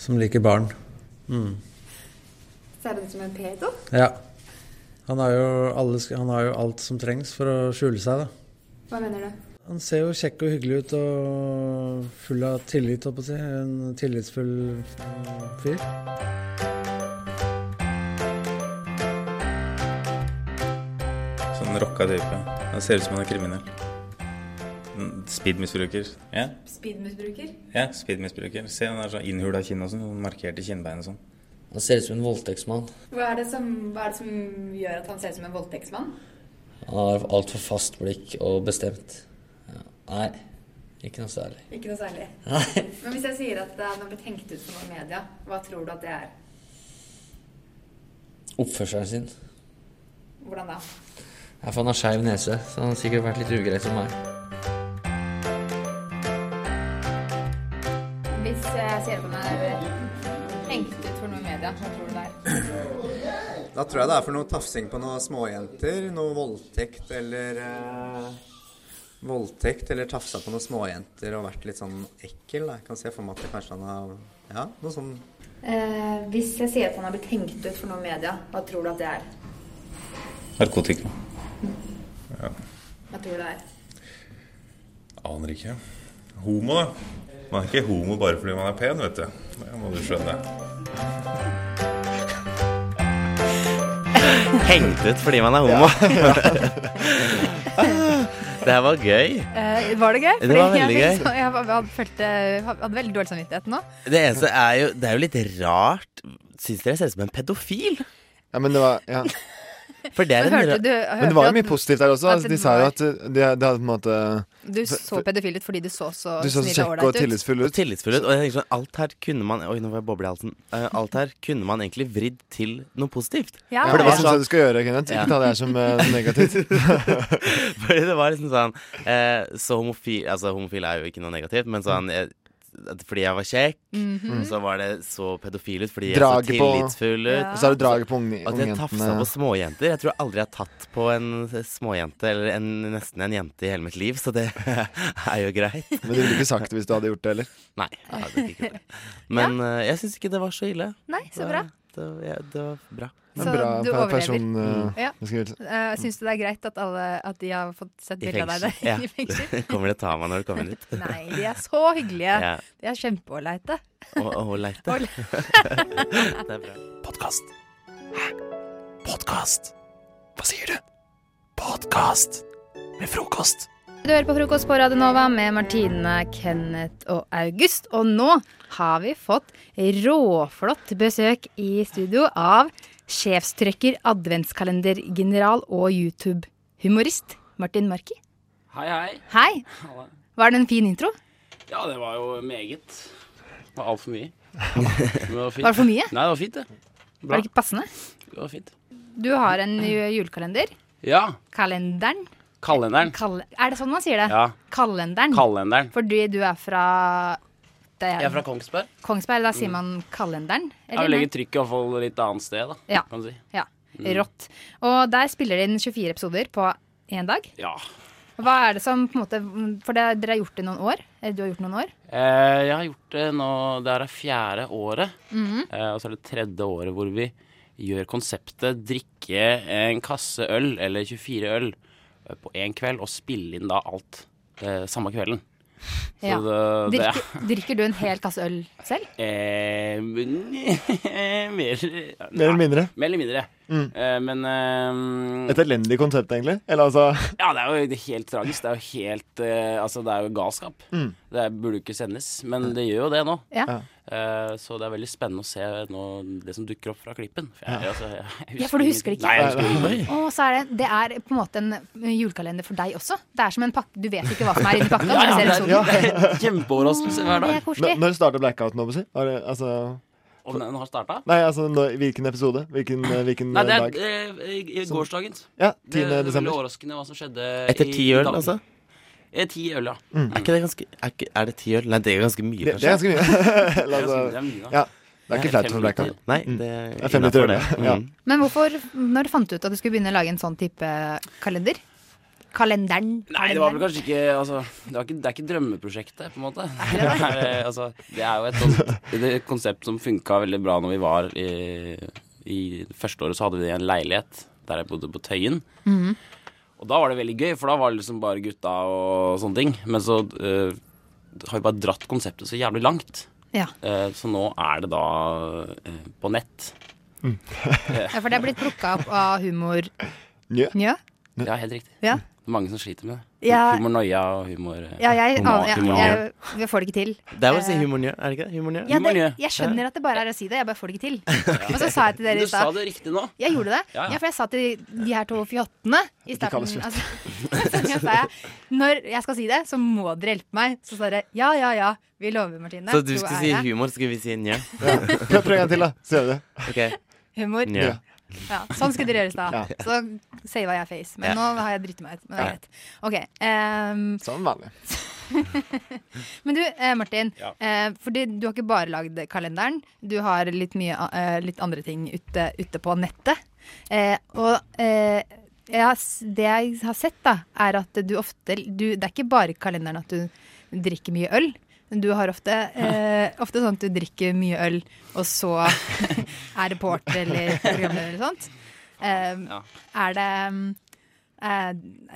Speaker 15: som liker barn. Mm.
Speaker 9: Ser du det som en pedo?
Speaker 15: Ja. Han har, jo alle, sk- han har jo alt som trengs for å skjule seg, da.
Speaker 9: Hva mener du?
Speaker 15: Han ser jo kjekk og hyggelig ut og full av tillit, holdt på å si. En tillitsfull mm, fyr.
Speaker 16: Sånn rocka type. Han ser ut som han er kriminell. Mm, Speedmisbruker. Ja,
Speaker 9: Speedmisbruker?
Speaker 16: ja speedmisbruker. Se, han er sånn innhula kinn og sånn. Markert i kinnbein og sånn.
Speaker 17: Han ser ut som en voldtektsmann.
Speaker 9: Hva er, det som, hva er det som gjør at han ser ut som en voldtektsmann?
Speaker 17: Han har altfor fast blikk og bestemt. Ja. Nei, ikke noe særlig.
Speaker 9: Ikke noe særlig.
Speaker 17: Nei.
Speaker 9: Men hvis jeg sier at han har blitt hengt ut for noe i media, hva tror du at det er?
Speaker 17: Oppførselen sin.
Speaker 9: Hvordan da?
Speaker 17: Ja, for han har skeiv nese, så han har sikkert vært litt ugrei som meg.
Speaker 9: Hvis jeg sier at han er hengt ut for noe i media, hva tror du det er?
Speaker 14: Da tror jeg det er for noe tafsing på noen småjenter. Noe voldtekt eller eh, Voldtekt eller tafsa på noen småjenter og vært litt sånn ekkel. Da. Jeg kan se for meg at det kanskje han har Ja, noe sånn
Speaker 9: Eh, hvis jeg sier at han har blitt hengt ut for noe i media, hva tror du at det er?
Speaker 16: Narkotika. Ja.
Speaker 9: Hva tror du det er?
Speaker 13: Aner ikke. Homo, da. Man er ikke homo bare fordi man er pen, vet du. Det må du skjønne.
Speaker 11: Hengt ut fordi man er homo. det her var gøy.
Speaker 9: Eh, var det gøy?
Speaker 11: Det var veldig
Speaker 9: jeg,
Speaker 11: gøy.
Speaker 9: Jeg, var- jeg følte, eh, hadde veldig dårlig samvittighet nå.
Speaker 11: Det eneste er jo Det er jo litt rart Syns dere jeg ser ut som en pedofil?
Speaker 18: Ja, men det var Ja.
Speaker 11: For det er
Speaker 9: Men
Speaker 11: en
Speaker 9: hørte
Speaker 11: ra-
Speaker 9: du-
Speaker 18: Men det var jo mye positivt der også.
Speaker 9: at
Speaker 18: Altså,
Speaker 9: det
Speaker 18: de sa jo
Speaker 9: var-
Speaker 18: at uh, det det hadde på en måte
Speaker 9: Du så pedofil ut fordi du så så
Speaker 18: Du så så
Speaker 9: snill
Speaker 18: kjekk
Speaker 9: ålreit
Speaker 18: og tillitsfull ut.
Speaker 11: Og tillitsfull ut. Og jeg tenker sånn Alt her kunne man Oi, nå var jeg boble i halsen. Eh, alt her kunne man egentlig vridd til noe positivt.
Speaker 18: Ja, For det var sånn som du skal gjøre, Kenneth. Ikke ta det her som, eh, som negativt.
Speaker 11: Fordi det var liksom sånn eh, Så homofil Altså, homofil er jo ikke noe negativt, men sånn eh, at fordi jeg var kjekk,
Speaker 18: Mhm.
Speaker 11: så var det så pedofil ut fordi jeg
Speaker 18: Draget
Speaker 11: så
Speaker 18: på
Speaker 11: tillitsfull ut.
Speaker 18: Og så er det draget på unge,
Speaker 11: At jeg tafsa på småjenter. Jeg tror aldri jeg har tatt på en småjente, eller en, nesten en jente i hele mitt liv, så det er jo greit.
Speaker 18: Men du ville ikke sagt det hvis du hadde gjort det heller?
Speaker 11: Nei. jeg hadde ikke gjort det. Men eh, jeg syns ikke det var så ille.
Speaker 9: Nei, så bra.
Speaker 11: Det, var- ja, det var bra.
Speaker 18: Det er en bra per-
Speaker 9: Så du overlever. Mm.
Speaker 18: person, eh,
Speaker 11: Mm.
Speaker 9: ja.
Speaker 18: beskrivelse.
Speaker 9: Eh, Syns du det er greit at, alle, at de har fått sett
Speaker 11: I
Speaker 9: bilde av deg der
Speaker 11: fengsel.
Speaker 9: i fengsel?
Speaker 11: Ja. Kommer de og tar meg når de kommer dit?
Speaker 9: Nei, de er så hyggelige.
Speaker 11: Ja.
Speaker 9: De er kjempeålreite.
Speaker 11: Og, og leite.
Speaker 9: Og-
Speaker 11: det er bra.
Speaker 1: Podkast. Hæ? Podkast? Hva sier du? Podkast med frokost.
Speaker 9: Du hører på frokost på Radio Nova med Martine, Kenneth og August. Og nå har vi fått råflott besøk i studio av sjefstrekker, adventskalendergeneral og YouTube-humorist Martin Marki.
Speaker 19: Hei, hei.
Speaker 9: Hei!
Speaker 19: Halla.
Speaker 9: Var det en fin intro?
Speaker 19: Ja, det var jo meget. Det var altfor mye. Men var, fint.
Speaker 9: Var det for mye?
Speaker 19: Nei, det var fint, det.
Speaker 9: Var det ikke passende?
Speaker 19: Det var fint.
Speaker 9: Du har en ju- julekalender.
Speaker 19: Ja.
Speaker 9: Kalenderen.
Speaker 19: Kalenderen.
Speaker 9: Kal er det sånn man sier det?
Speaker 19: Ja.
Speaker 9: Kalenderen.
Speaker 19: Kalenderen.
Speaker 9: Fordi du er fra det
Speaker 19: Jeg er fra Kongsberg.
Speaker 9: Kongsberg. Da sier
Speaker 19: Mm.
Speaker 9: man kalenderen?
Speaker 19: Jeg vil
Speaker 9: nei?
Speaker 19: legge trykket i hvert fall litt annet sted, da.
Speaker 9: Ja.
Speaker 19: Kan du si.
Speaker 9: Ja,
Speaker 19: Mm.
Speaker 9: rått. Og der spiller de inn 24 episoder på én dag.
Speaker 19: Ja.
Speaker 9: Hva er det som på en måte For det, dere har gjort det noen år? Eller du har gjort det noen år?
Speaker 19: Eh, jeg har gjort det nå Det er det fjerde året.
Speaker 9: Mhm.
Speaker 19: eh, og så er det tredje året hvor vi gjør konseptet drikke en kasse øl, eller 24 øl, eh, på én kveld, og spille inn da alt eh, samme kvelden. Så
Speaker 9: Ja.
Speaker 19: det, det
Speaker 9: drikker, drikker du en hel kasse øl selv?
Speaker 19: Eh, mer
Speaker 18: Mer eller mindre.
Speaker 19: Mer eller mindre.
Speaker 18: Mm.
Speaker 19: Eh, men eh,
Speaker 18: Et elendig konsept, egentlig. Eller altså
Speaker 19: Ja, det er jo helt tragisk. Det er jo helt eh, Altså, det er jo galskap.
Speaker 18: Mm.
Speaker 19: Det burde jo ikke sendes, men det gjør jo det nå.
Speaker 9: Ja.
Speaker 19: Eh, så det er veldig spennende å se nå det som dukker opp fra klippen. For jeg, altså, jeg, jeg
Speaker 9: Ja, for du husker det ikke?
Speaker 19: Nei, jeg husker det ikke.
Speaker 9: Og så er det, det er på en måte en julekalender for deg også. Det er som en pakke Du vet ikke hva som er inni pakka. når du ser episoden.
Speaker 19: Kjempeoverraskelse hver dag.
Speaker 9: Det er koselig.
Speaker 18: Når- Når starter blackouten, holdt jeg på å si? Har det- Altså
Speaker 19: Om den har starta?
Speaker 18: Nei, altså når, hvilken episode? Hvilken, eh, hvilken
Speaker 19: Nei, det
Speaker 18: dag?
Speaker 19: er eh, i- i gårsdagens.
Speaker 18: Ja,
Speaker 19: Det-
Speaker 18: 10.
Speaker 19: det er
Speaker 18: desember.
Speaker 19: Veldig overraskende hva som skjedde
Speaker 11: Etter
Speaker 19: i-
Speaker 11: ti
Speaker 19: i
Speaker 11: øl,
Speaker 19: dag.
Speaker 11: altså?
Speaker 19: Eh, Ti øl, ja.
Speaker 11: Er ikke det ganske Er, ikke, er det ti øl? Nei, det er ganske mye,
Speaker 18: Mm. Det, det er ganske mye. La oss-
Speaker 19: Det er mye, da.
Speaker 18: ja. Det er ikke
Speaker 11: Ja,
Speaker 18: flaut
Speaker 11: fem
Speaker 18: for blackout.
Speaker 11: liter. Nei,
Speaker 18: Mm.
Speaker 11: det er
Speaker 18: er fem liter
Speaker 11: innenfor
Speaker 18: øl,
Speaker 11: det.
Speaker 18: ja.
Speaker 11: Mm.
Speaker 9: Men hvorfor, når fant du ut at du skulle begynne å lage en sånn type kalender? Kalenderen?
Speaker 19: Nei, det var vel kanskje ikke Altså, det, var ikke, det er ikke drømmeprosjektet, på en måte. Det er, eh, altså, det er jo et sånt det er et konsept som funka veldig bra når vi var i, i første året, så hadde vi en leilighet der jeg bodde på Tøyen.
Speaker 9: Mhm.
Speaker 19: Og da var det veldig gøy, for da var det liksom bare gutta og sånne ting. Men så eh, har vi bare dratt konseptet så jævlig langt.
Speaker 9: Ja.
Speaker 19: Eh, så nå er det da eh, på nett.
Speaker 18: Mm.
Speaker 19: Eh,
Speaker 9: Ja, for det er blitt plukka opp av humor...
Speaker 18: Njø?
Speaker 9: Njø?
Speaker 19: ja, helt riktig.
Speaker 9: Ja.
Speaker 19: Det er mange som sliter med det.
Speaker 9: Ja.
Speaker 19: Humornoia og humor... eh,
Speaker 9: Ja, jeg,
Speaker 19: humor-
Speaker 9: aner- jeg,
Speaker 19: humor-
Speaker 9: jeg, jeg får det ikke til.
Speaker 11: Det er vel å si
Speaker 9: Eh,
Speaker 11: humornjø, er det ikke det? Humornjø?
Speaker 9: Ja, det, jeg skjønner at det bare er å si det, jeg bare får det ikke til. Og så sa jeg til
Speaker 19: Men
Speaker 9: dere
Speaker 19: du
Speaker 9: i
Speaker 19: sa
Speaker 9: stad
Speaker 19: det riktig nå.
Speaker 9: Jeg gjorde det.
Speaker 19: Ja,
Speaker 9: Ja,
Speaker 19: ja.
Speaker 9: for jeg sa til de her to fjottene i
Speaker 19: Ikke kall
Speaker 9: starten
Speaker 19: oss fjott.
Speaker 9: altså, så sa jeg, Når jeg skal si det, så må dere hjelpe meg. Så sa dere ja, ja, ja. Vi lover, Martine.
Speaker 11: Så du
Speaker 9: Tro
Speaker 11: skal
Speaker 9: er
Speaker 11: si
Speaker 9: jeg.
Speaker 11: humor, så skal vi si njø?
Speaker 18: Ja. Prøv, prøv en gang til, da. Så gjør vi det.
Speaker 11: Ok.
Speaker 9: Humor.
Speaker 11: Njø.
Speaker 9: Ja, sånn skulle dere gjøre i stad.
Speaker 11: Ja.
Speaker 9: Så sava jeg face. Men
Speaker 11: Ja.
Speaker 9: nå har jeg dritt meg ut. Men det
Speaker 11: Ja.
Speaker 9: er greit. Ok. ehm,
Speaker 18: Sånn vanlig.
Speaker 9: men du, eh, Martin.
Speaker 18: Ja.
Speaker 9: Eh, for du, du har ikke bare lagd kalenderen. Du har litt mye a- eh, litt andre ting ute, ute på nettet. Eh, og eh, jeg har, s- det jeg har sett, da, er at du ofte du, Det er ikke bare kalenderen at du drikker mye øl. Du har ofte, eh, ofte sånn at du drikker mye øl, og så er det porter eller programleder eller sånt. Eh, Er det mm, eh,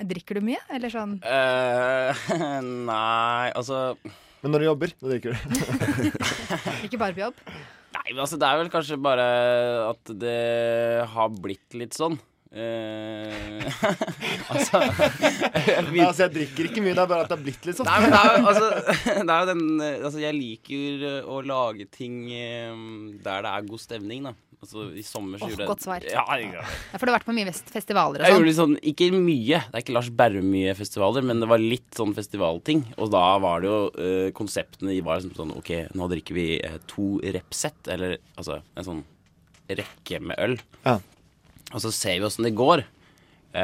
Speaker 9: Drikker du mye, eller sånn?
Speaker 19: Eh, nei, altså
Speaker 18: Men når du jobber, da drikker du.
Speaker 9: Ikke bare på jobb?
Speaker 19: Nei, men altså, det er vel kanskje bare at det har blitt litt sånn. Eh, altså
Speaker 18: Nei, altså, jeg drikker ikke mye, det er bare at det har blitt litt sånn.
Speaker 19: Nei, men det er jo altså, det er jo den eh, Altså, jeg liker eh, å lage ting eh, der det er god stemning, da. Altså, i sommer så
Speaker 9: Åh,
Speaker 19: gjorde jeg
Speaker 9: godt svar.
Speaker 19: Ja, jeg, jeg,
Speaker 9: Ja, for du har vært på mye vest- festivaler
Speaker 19: jeg
Speaker 9: og
Speaker 19: gjorde
Speaker 9: sånn.
Speaker 19: litt sånn Ikke mye, det er ikke Lars Berrum-mye festivaler, men det var litt sånn festivalting. Og da var det jo eh, Konseptene de var liksom sånn OK, nå drikker vi eh, to rep-sett, eller altså en sånn rekke med øl.
Speaker 18: Ja.
Speaker 19: Og så ser vi åssen det går. Eh,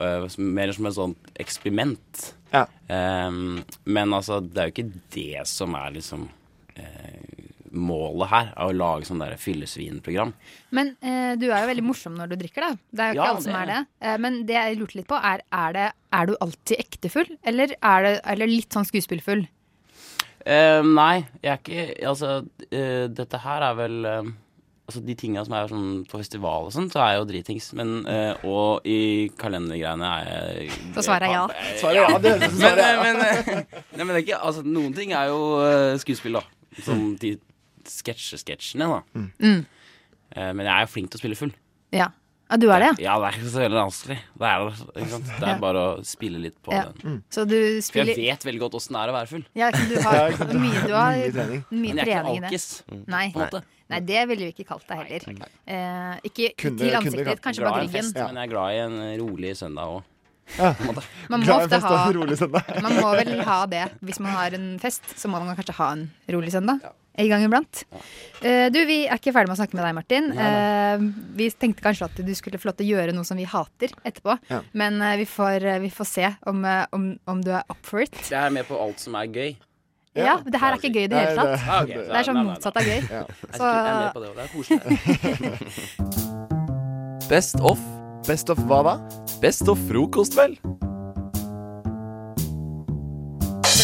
Speaker 19: eh, som- mer som et sånt eksperiment. Ehm, men altså, det er jo ikke det som er liksom eh, målet her. Er å lage sånn der fyllesvinprogram.
Speaker 9: Men eh, du er jo veldig morsom når du drikker, da. Det er jo ikke
Speaker 19: Ja,
Speaker 9: alle som
Speaker 19: det-
Speaker 9: er det. Eh, men det jeg lurte litt på, er er, det, er du alltid ektefull, eller er det eller litt sånn skuespillfull?
Speaker 19: Eh, nei, jeg er ikke Altså, eh, dette her er vel eh, altså de tinga som er sånn på festival og sånn, så er jeg jo dritings. Men, eh, og i kalendergreiene er jeg
Speaker 10: Så svaret er ja.
Speaker 19: Svaret er ja, det
Speaker 10: Men,
Speaker 19: svaret er ja.
Speaker 10: eh,
Speaker 19: Men, eh, nei, men det er ikke Altså, noen ting er jo eh, skuespill, da. Som de sketsjesketsjene, da.
Speaker 9: Mm.
Speaker 19: Eh, men jeg er jo flink til å spille full.
Speaker 9: Ja. ja, du er det, ja?
Speaker 19: Ja, det er ikke så veldig vanskelig. Det er, det, ikke sant? Det
Speaker 9: Ja.
Speaker 19: er bare å spille litt på
Speaker 9: Ja.
Speaker 19: den.
Speaker 9: Så du
Speaker 19: For jeg
Speaker 9: spiller
Speaker 19: vet veldig godt åssen det er å være full.
Speaker 9: Ja, ikke- du har mye, du har, mye
Speaker 19: Men jeg er ikke
Speaker 9: trening Mm. i
Speaker 19: en
Speaker 9: det.
Speaker 19: alkis.
Speaker 9: Nei.
Speaker 19: på en måte.
Speaker 9: Nei, det ville vi ikke kalt deg heller. Eh, ikke
Speaker 19: Kunne-
Speaker 9: til
Speaker 19: kunne
Speaker 9: ansiktet,
Speaker 19: kalt-
Speaker 9: kanskje
Speaker 19: glad i
Speaker 9: bak
Speaker 19: en
Speaker 9: ryggen.
Speaker 19: Fest, Men jeg er glad i en rolig søndag òg.
Speaker 9: Man må ofte ha Man må vel ha det. Hvis man har en fest, så må man kanskje ha en rolig søndag. En gang iblant. Eh, du, vi er ikke ferdig med å snakke med deg, Martin. Eh, vi tenkte kanskje at du skulle få lov til å gjøre noe som vi hater etterpå.
Speaker 19: Ja.
Speaker 9: Men eh, vi, får, vi får se om, eh, om, om du er up for it.
Speaker 19: Jeg er med på alt som er gøy.
Speaker 9: Ja, det her er ikke gøy i det hele
Speaker 19: Nei,
Speaker 9: tatt.
Speaker 19: Ah, ok.
Speaker 9: Det er sånn
Speaker 19: Nei, nei, nei.
Speaker 9: motsatt av gøy.
Speaker 19: Ja.
Speaker 9: Så-
Speaker 19: Jeg er med på det, og det er koselig.
Speaker 1: Best of.
Speaker 18: Best of hva da?
Speaker 1: Best of frokost, vel.
Speaker 9: Bra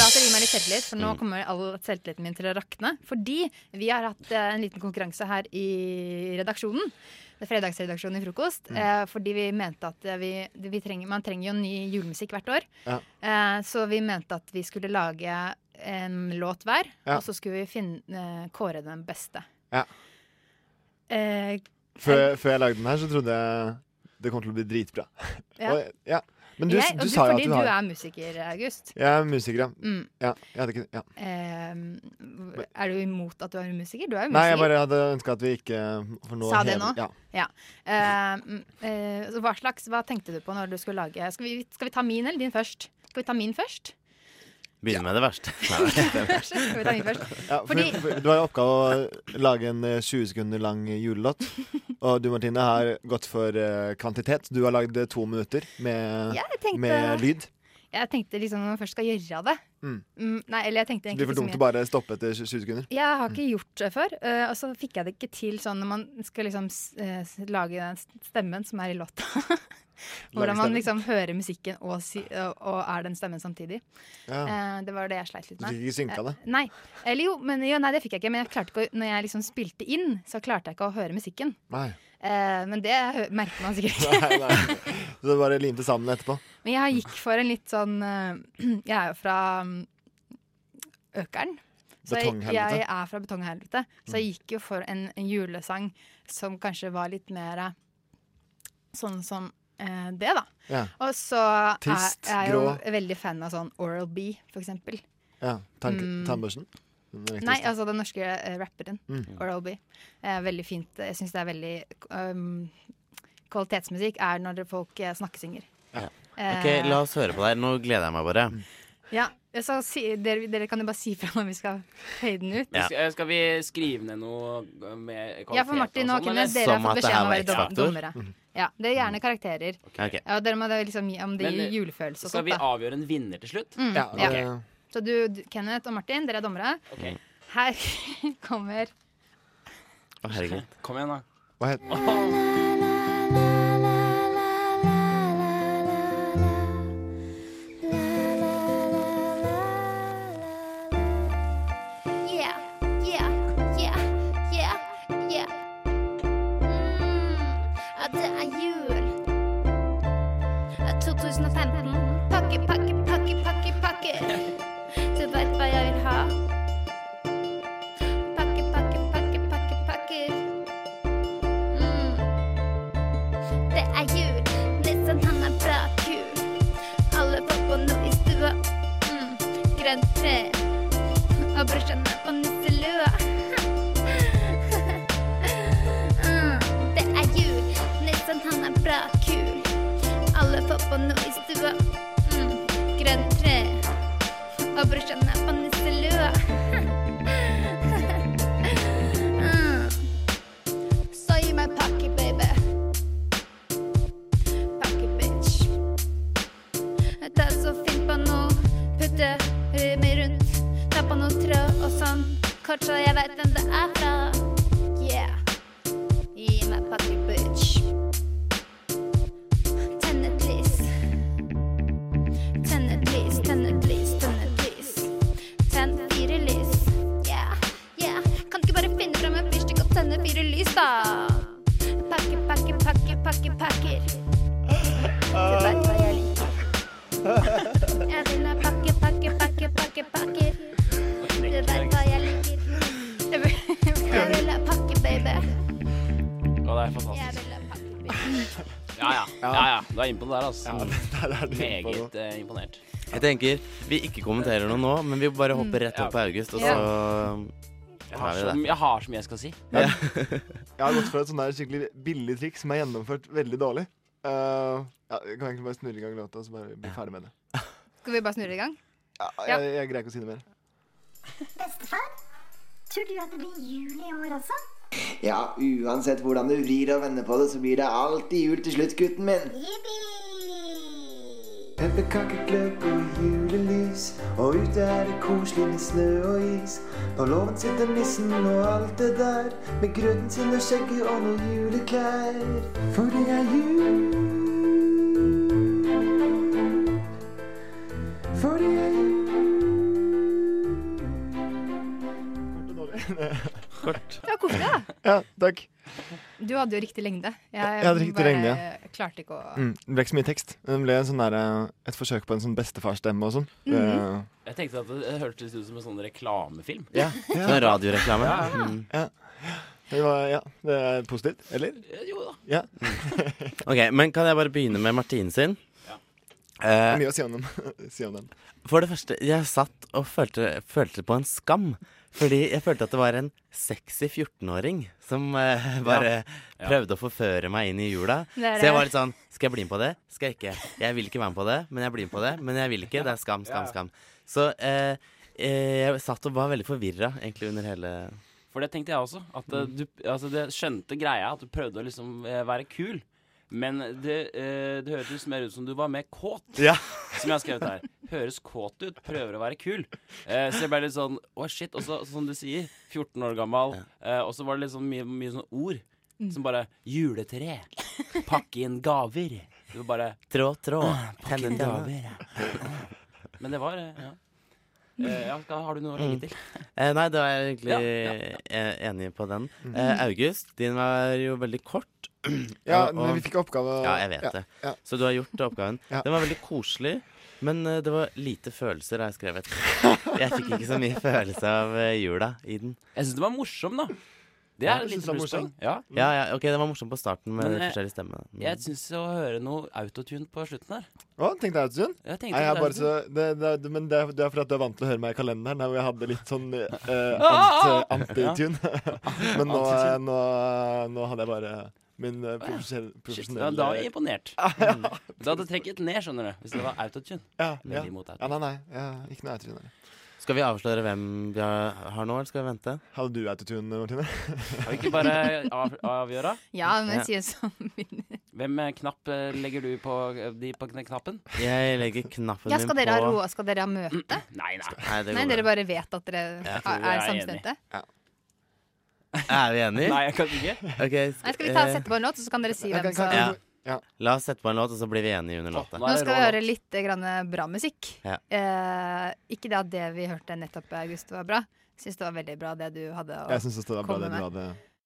Speaker 9: at dere gir meg litt selvtillit, for
Speaker 18: Mm.
Speaker 9: nå kommer all selvtilliten min til å rakne. Fordi vi har hatt eh, en liten konkurranse her i redaksjonen. Det er Fredagsredaksjonen i Frokost.
Speaker 18: Mm.
Speaker 9: Eh, fordi vi mente at eh, vi, vi trenger, man trenger jo ny julemusikk hvert år.
Speaker 18: Ja.
Speaker 9: Eh, så vi mente at vi skulle lage en låt hver,
Speaker 18: Ja.
Speaker 9: og så skulle vi finne, eh, kåre den beste.
Speaker 18: Ja.
Speaker 9: Eh,
Speaker 18: Før, før jeg lagde den her, så trodde jeg det kom til å bli dritbra.
Speaker 9: Ja.
Speaker 18: Og, ja. Men du,
Speaker 9: jeg, og
Speaker 18: du, sa jo at
Speaker 9: fordi
Speaker 18: du har
Speaker 9: er musiker, August.
Speaker 18: Jeg er musiker, ja.
Speaker 9: Mm.
Speaker 18: ja, jeg hadde ikke, ja.
Speaker 9: Eh, er du imot at du er musiker? Du er jo musiker.
Speaker 18: Nei, jeg bare hadde ønska at vi ikke for nå
Speaker 9: Sa det
Speaker 18: hever-
Speaker 9: nå?
Speaker 18: Ja.
Speaker 9: Eh, mm, eh, så hva slags, hva tenkte du på når du skulle lage Skal vi, skal vi ta min eller din først? Skal vi ta min først?
Speaker 11: Begynner med det verste.
Speaker 9: Kanskje skal vi ta min først?
Speaker 18: Ja, for,
Speaker 9: Fordi-
Speaker 18: for, du har jo oppgave å lage en eh, 20 sekunder lang julelåt. Og du, Martine, har gått for eh, kvantitet. Du har lagd eh, to minutter med,
Speaker 9: Ja, jeg tenkte-
Speaker 18: med lyd.
Speaker 9: Jeg tenkte liksom når man først skal gjøre av det.
Speaker 18: Mm.
Speaker 9: Mm, nei, eller jeg tenkte
Speaker 18: Det blir
Speaker 9: egentlig liksom
Speaker 18: for dumt
Speaker 9: ikke
Speaker 18: å
Speaker 9: så mye.
Speaker 18: bare stoppe etter 20 sekunder.
Speaker 9: Jeg har ikke gjort det før, eh, og så fikk jeg det ikke til sånn når man skal liksom s- eh, s- lage den stemmen som er i låta. Hvordan man liksom
Speaker 18: stemmen.
Speaker 9: hører musikken og, si, og, og er den stemmen samtidig.
Speaker 18: Ja.
Speaker 9: Eh, det var det jeg sleit litt
Speaker 18: Du
Speaker 9: med.
Speaker 18: fikk ikke synka det?
Speaker 9: Eh, Nei. Eller jo, men, jo, nei, det fikk jeg ikke. Men jeg klarte ikke å, når jeg liksom spilte inn, så klarte jeg ikke å høre musikken.
Speaker 18: Nei.
Speaker 9: Eh, men det hø- merker man sikkert ikke.
Speaker 18: nei, nei. Så du bare limte sammen etterpå.
Speaker 9: Men jeg gikk for en litt sånn eh, Jeg er jo fra mm, Økeren. Så jeg,
Speaker 18: Betonghelvete.
Speaker 9: jeg er fra betonghelvete. Så jeg gikk jo for en, en julesang som kanskje var litt mer eh, sånn som eh, det, da.
Speaker 18: Ja.
Speaker 9: Og så er,
Speaker 18: Trist,
Speaker 9: er jeg jo
Speaker 18: grå.
Speaker 9: veldig fan av sånn Oral B, for eksempel.
Speaker 18: Ja, tank,
Speaker 9: Mm.
Speaker 18: Tannbørsten? Den er
Speaker 9: Nei,
Speaker 18: riktigste.
Speaker 9: altså den norske eh, rapperen.
Speaker 18: Mm.
Speaker 9: Oral B. Eh, veldig fint. Jeg syns det er veldig um, Kvalitetsmusikk er når folk eh, snakkesynger.
Speaker 11: Ja.
Speaker 9: Eh,
Speaker 11: Ok, la oss høre på deg. Nå gleder jeg meg bare.
Speaker 9: Ja, så si, dere, dere kan jo bare si fra når vi skal høye den ut.
Speaker 19: Skal, skal vi skrive ned noe med kvalitet
Speaker 9: Ja, for Martin og
Speaker 19: og sånn,
Speaker 9: Kine,
Speaker 19: eller?
Speaker 9: dere har
Speaker 11: Som
Speaker 9: fått
Speaker 11: at det
Speaker 9: beskjed om å
Speaker 11: her
Speaker 9: være
Speaker 11: var
Speaker 9: dom- dommere.
Speaker 11: X-faktor.
Speaker 9: Ja, det er gjerne karakterer.
Speaker 11: Ok. eh,
Speaker 9: Ja, og dere må da liksom gi om det
Speaker 19: Men, eh,
Speaker 9: gir julefølelse og
Speaker 19: Skal
Speaker 9: sånt,
Speaker 19: vi
Speaker 9: da.
Speaker 19: avgjøre en vinner til slutt?
Speaker 9: Mm, Ja, ja. det-
Speaker 19: Ok.
Speaker 9: Så du, du, Kenneth og Martin, dere er dommere.
Speaker 19: Ok.
Speaker 9: Her kommer
Speaker 11: Å, herregud.
Speaker 19: Kom igjen, da.
Speaker 18: Hva het
Speaker 10: Yeah, yeah, yeah, yeah, yeah. Mm, at det er jul. At 2015. Pakke, pakke, pakke, pakke, pakke. Du veit hva jeg vil ha. Pakke, pakke, pakke, pakke, pakker. Mm. Det er jul. Nissen, han er bra kul. Alle pappaene i stua. Mm. Grønt tre. Og brorsan er på nisselua. Mm, Det er jul, nissen han er bra kul. Alle får på noe i stua. Mm, Grønt tre. Og brorsan er på nisselua. Mm. Så gi meg pakke, baby. Pakke, bitch. Det er så fint på noe. Putte eh, meg rundt. Ta på noe tråd og sånn. Kort så jeg veit hvem det er fra. Yeah. Gi meg pakke, bitch. Tenn et lys. Tenn et lys, tenn et lys, tenn et lys. Tenn fire lys. Yeah, yeah. Kan du ikke bare finne fram en fyrstikk og tenne fire lys, da? pakke pakker. Du vet hva jeg liker. Jeg vil ha pakke, pakke, pakke, pakke, pakker. Du vet hva jeg liker. Jeg vil- Jeg vil ha pakke, baby.
Speaker 19: Og det er fantastisk. Ja ja. ja, ja. Du er inne på det der, altså. Meget eh, imponert.
Speaker 11: Jeg tenker vi ikke kommenterer noe nå, men vi bare hopper rett opp på August, og så
Speaker 19: Jeg
Speaker 11: tar
Speaker 19: har,
Speaker 11: vi
Speaker 19: så,
Speaker 11: det.
Speaker 19: jeg har så mye jeg skal si.
Speaker 11: Ja.
Speaker 18: Jeg har gått for et sånn der skikkelig billig triks som er gjennomført veldig dårlig. Eh, ja, jeg kan egentlig bare snurre i gang låta og så bare bli ferdig med det.
Speaker 9: Skal vi bare snurre i gang?
Speaker 18: Ja,
Speaker 9: Ja.
Speaker 18: jeg, jeg greier ikke å si noe mer.
Speaker 20: Bestefar, tror du at det blir jul i år også?
Speaker 21: Ja, uansett hvordan du vrir og vender på det, så blir det alltid jul til slutt, gutten min. Pepperkakegløgg og julelys, og ute er det koselig med snø og is. På låven sitter nissen og alt det der, med grøten sin og skjegget og noen juleklær. For det er jul. For det er jul.
Speaker 18: Kort.
Speaker 9: Ja, koselig, da.
Speaker 18: Ja, takk.
Speaker 9: Du hadde jo riktig lengde. Jeg,
Speaker 18: Jeg hadde riktig
Speaker 9: bare
Speaker 18: lengde,
Speaker 9: klarte ikke å
Speaker 18: Mm, det ble ikke så mye tekst. men Det ble en sånn der, eh, et forsøk på en sånn bestefarstemme og sånn. Det-
Speaker 19: Jeg tenkte at det, det hørtes ut som en sånn reklamefilm.
Speaker 18: Ja, ja.
Speaker 11: Sånn radioreklame.
Speaker 19: Ja, ja.
Speaker 11: Mm.
Speaker 18: Ja. Det var, ja, det er positivt, eller?
Speaker 19: Jo da.
Speaker 18: Ja.
Speaker 11: Ok, men kan jeg bare begynne med Martine sin?
Speaker 18: Det er
Speaker 11: Eh,
Speaker 18: mye å si om den. si om den.
Speaker 11: for det første, jeg satt og følte, følte på en skam. Fordi jeg følte at det var en sexy 14-åring som eh, bare
Speaker 19: Ja.
Speaker 11: prøvde å forføre meg inn i jula.
Speaker 19: Det er
Speaker 11: Så jeg var
Speaker 19: det.
Speaker 11: litt sånn Skal jeg bli med på det? Skal jeg ikke? Jeg vil ikke være med på det, men jeg blir med på det. Men jeg vil ikke. Det er skam,
Speaker 19: Ja, ja.
Speaker 11: skam, skam. Så eh, eh, jeg satt og var veldig forvirra egentlig under hele
Speaker 19: For det tenkte jeg også. At eh, du altså, det skjønte greia, at du prøvde å liksom eh, være kul. Men det, eh, det hørtes mer ut som du var mer kåt,
Speaker 11: Ja.
Speaker 19: som jeg har skrevet her. Høres kåt ut, prøver å være kul. Eh, så jeg ble litt sånn Å, shit. Og så, som du sier, 14 år gammel. eh, og så var det litt sånn mye, mye sånne ord.
Speaker 11: Mm.
Speaker 19: Som bare Juletre. Pakke inn gaver. Du bare
Speaker 11: Trå, trå.
Speaker 19: «Åh, Pakke
Speaker 11: Tenne,
Speaker 19: inn
Speaker 11: tenne.»
Speaker 19: gaver. ja. Men det var eh, Ja. Eh, ja skal- har du noe å legge til?
Speaker 11: Eh, nei, da er jeg egentlig
Speaker 19: Ja, ja,
Speaker 11: eh, enig på den.
Speaker 19: Mm.
Speaker 18: Mhm.
Speaker 11: Eh, August, din var jo veldig kort.
Speaker 18: Ja,
Speaker 11: Og-
Speaker 18: men vi
Speaker 11: og-
Speaker 18: fikk oppgave-
Speaker 11: Ja, jeg vet
Speaker 18: ja,
Speaker 11: det.
Speaker 18: ja.
Speaker 11: Så du har gjort oppgaven.
Speaker 18: Ja.
Speaker 11: Den var veldig koselig, men eh, det var lite følelser, har jeg skrevet. Jeg fikk ikke så mye følelse av eh, jula i den.
Speaker 19: Jeg syns det var morsom, da. Det
Speaker 11: Ja, jeg
Speaker 19: er et
Speaker 11: synes
Speaker 19: lite
Speaker 11: det var
Speaker 19: plusspoeng.
Speaker 11: morsom.
Speaker 19: Ja.
Speaker 11: Ja, ja, ok, det var morsomt på starten med
Speaker 19: Men, eh,
Speaker 11: forskjellig stemme. Mm.
Speaker 19: Jeg syns å høre noe autotune på slutten her.
Speaker 18: Å, tenkte jeg autotune?
Speaker 19: Jeg tenkte
Speaker 18: Nei, jeg er bare så,
Speaker 19: autotune.
Speaker 18: det, det, er- men det er, det er fordi at du er vant til å høre meg i kalenderen, der hvor jeg hadde litt sånn eh,
Speaker 19: Ah!
Speaker 18: ant- anti-tune. men nå,
Speaker 19: Anti-tune.
Speaker 18: eh, nå, nå hadde jeg bare min eh, profesjonelle,
Speaker 19: Shit,
Speaker 18: profesjonelle
Speaker 19: da, da var jeg imponert. Mm. Da hadde jeg trekket ned, skjønner du. Hvis det var autotune.
Speaker 18: Ja, ja.
Speaker 19: Veldig imot autotune.
Speaker 18: ja, nei, nei. Ja, ikke noe autotune. nei.
Speaker 11: Skal vi avsløre hvem vi har, har nå, eller skal vi vente?
Speaker 18: Hadde du autotune, Martine?
Speaker 19: Kan vi ikke bare av, avgjøre?
Speaker 9: Ja, men jeg sier som begynner.
Speaker 19: Hvem eh, knapp eh, legger du på eh, de på kn- knappen?
Speaker 11: Jeg legger knappen
Speaker 9: Ja,
Speaker 11: min
Speaker 9: skal
Speaker 11: på
Speaker 9: dere ha rå, skal dere ha møte?
Speaker 19: Nei, nei.
Speaker 11: Nei, det går
Speaker 9: Nei,
Speaker 11: bra.
Speaker 9: dere bare vet at dere
Speaker 11: Jeg tror
Speaker 9: er,
Speaker 11: jeg
Speaker 9: er
Speaker 11: er enig.
Speaker 9: samstemte?
Speaker 11: Er vi enige?
Speaker 19: Nei, jeg kan ikke.
Speaker 11: Ok, sk-
Speaker 9: Nei, skal vi
Speaker 11: eh,
Speaker 9: ta, sette på en låt, og så kan dere si
Speaker 11: Jeg
Speaker 9: hvem
Speaker 11: kan-
Speaker 9: som
Speaker 11: kan- La oss sette på en låt, og så blir vi enige under låta.
Speaker 9: Nå skal vi høre litt eh, grann eh, bra musikk.
Speaker 11: Ja.
Speaker 9: Eh, ikke det eh, at det vi hørte nettopp, August, var bra. Syns det var veldig bra, det du hadde å
Speaker 18: Jeg syns også det var bra
Speaker 9: komme
Speaker 18: det du
Speaker 9: med.
Speaker 18: hadde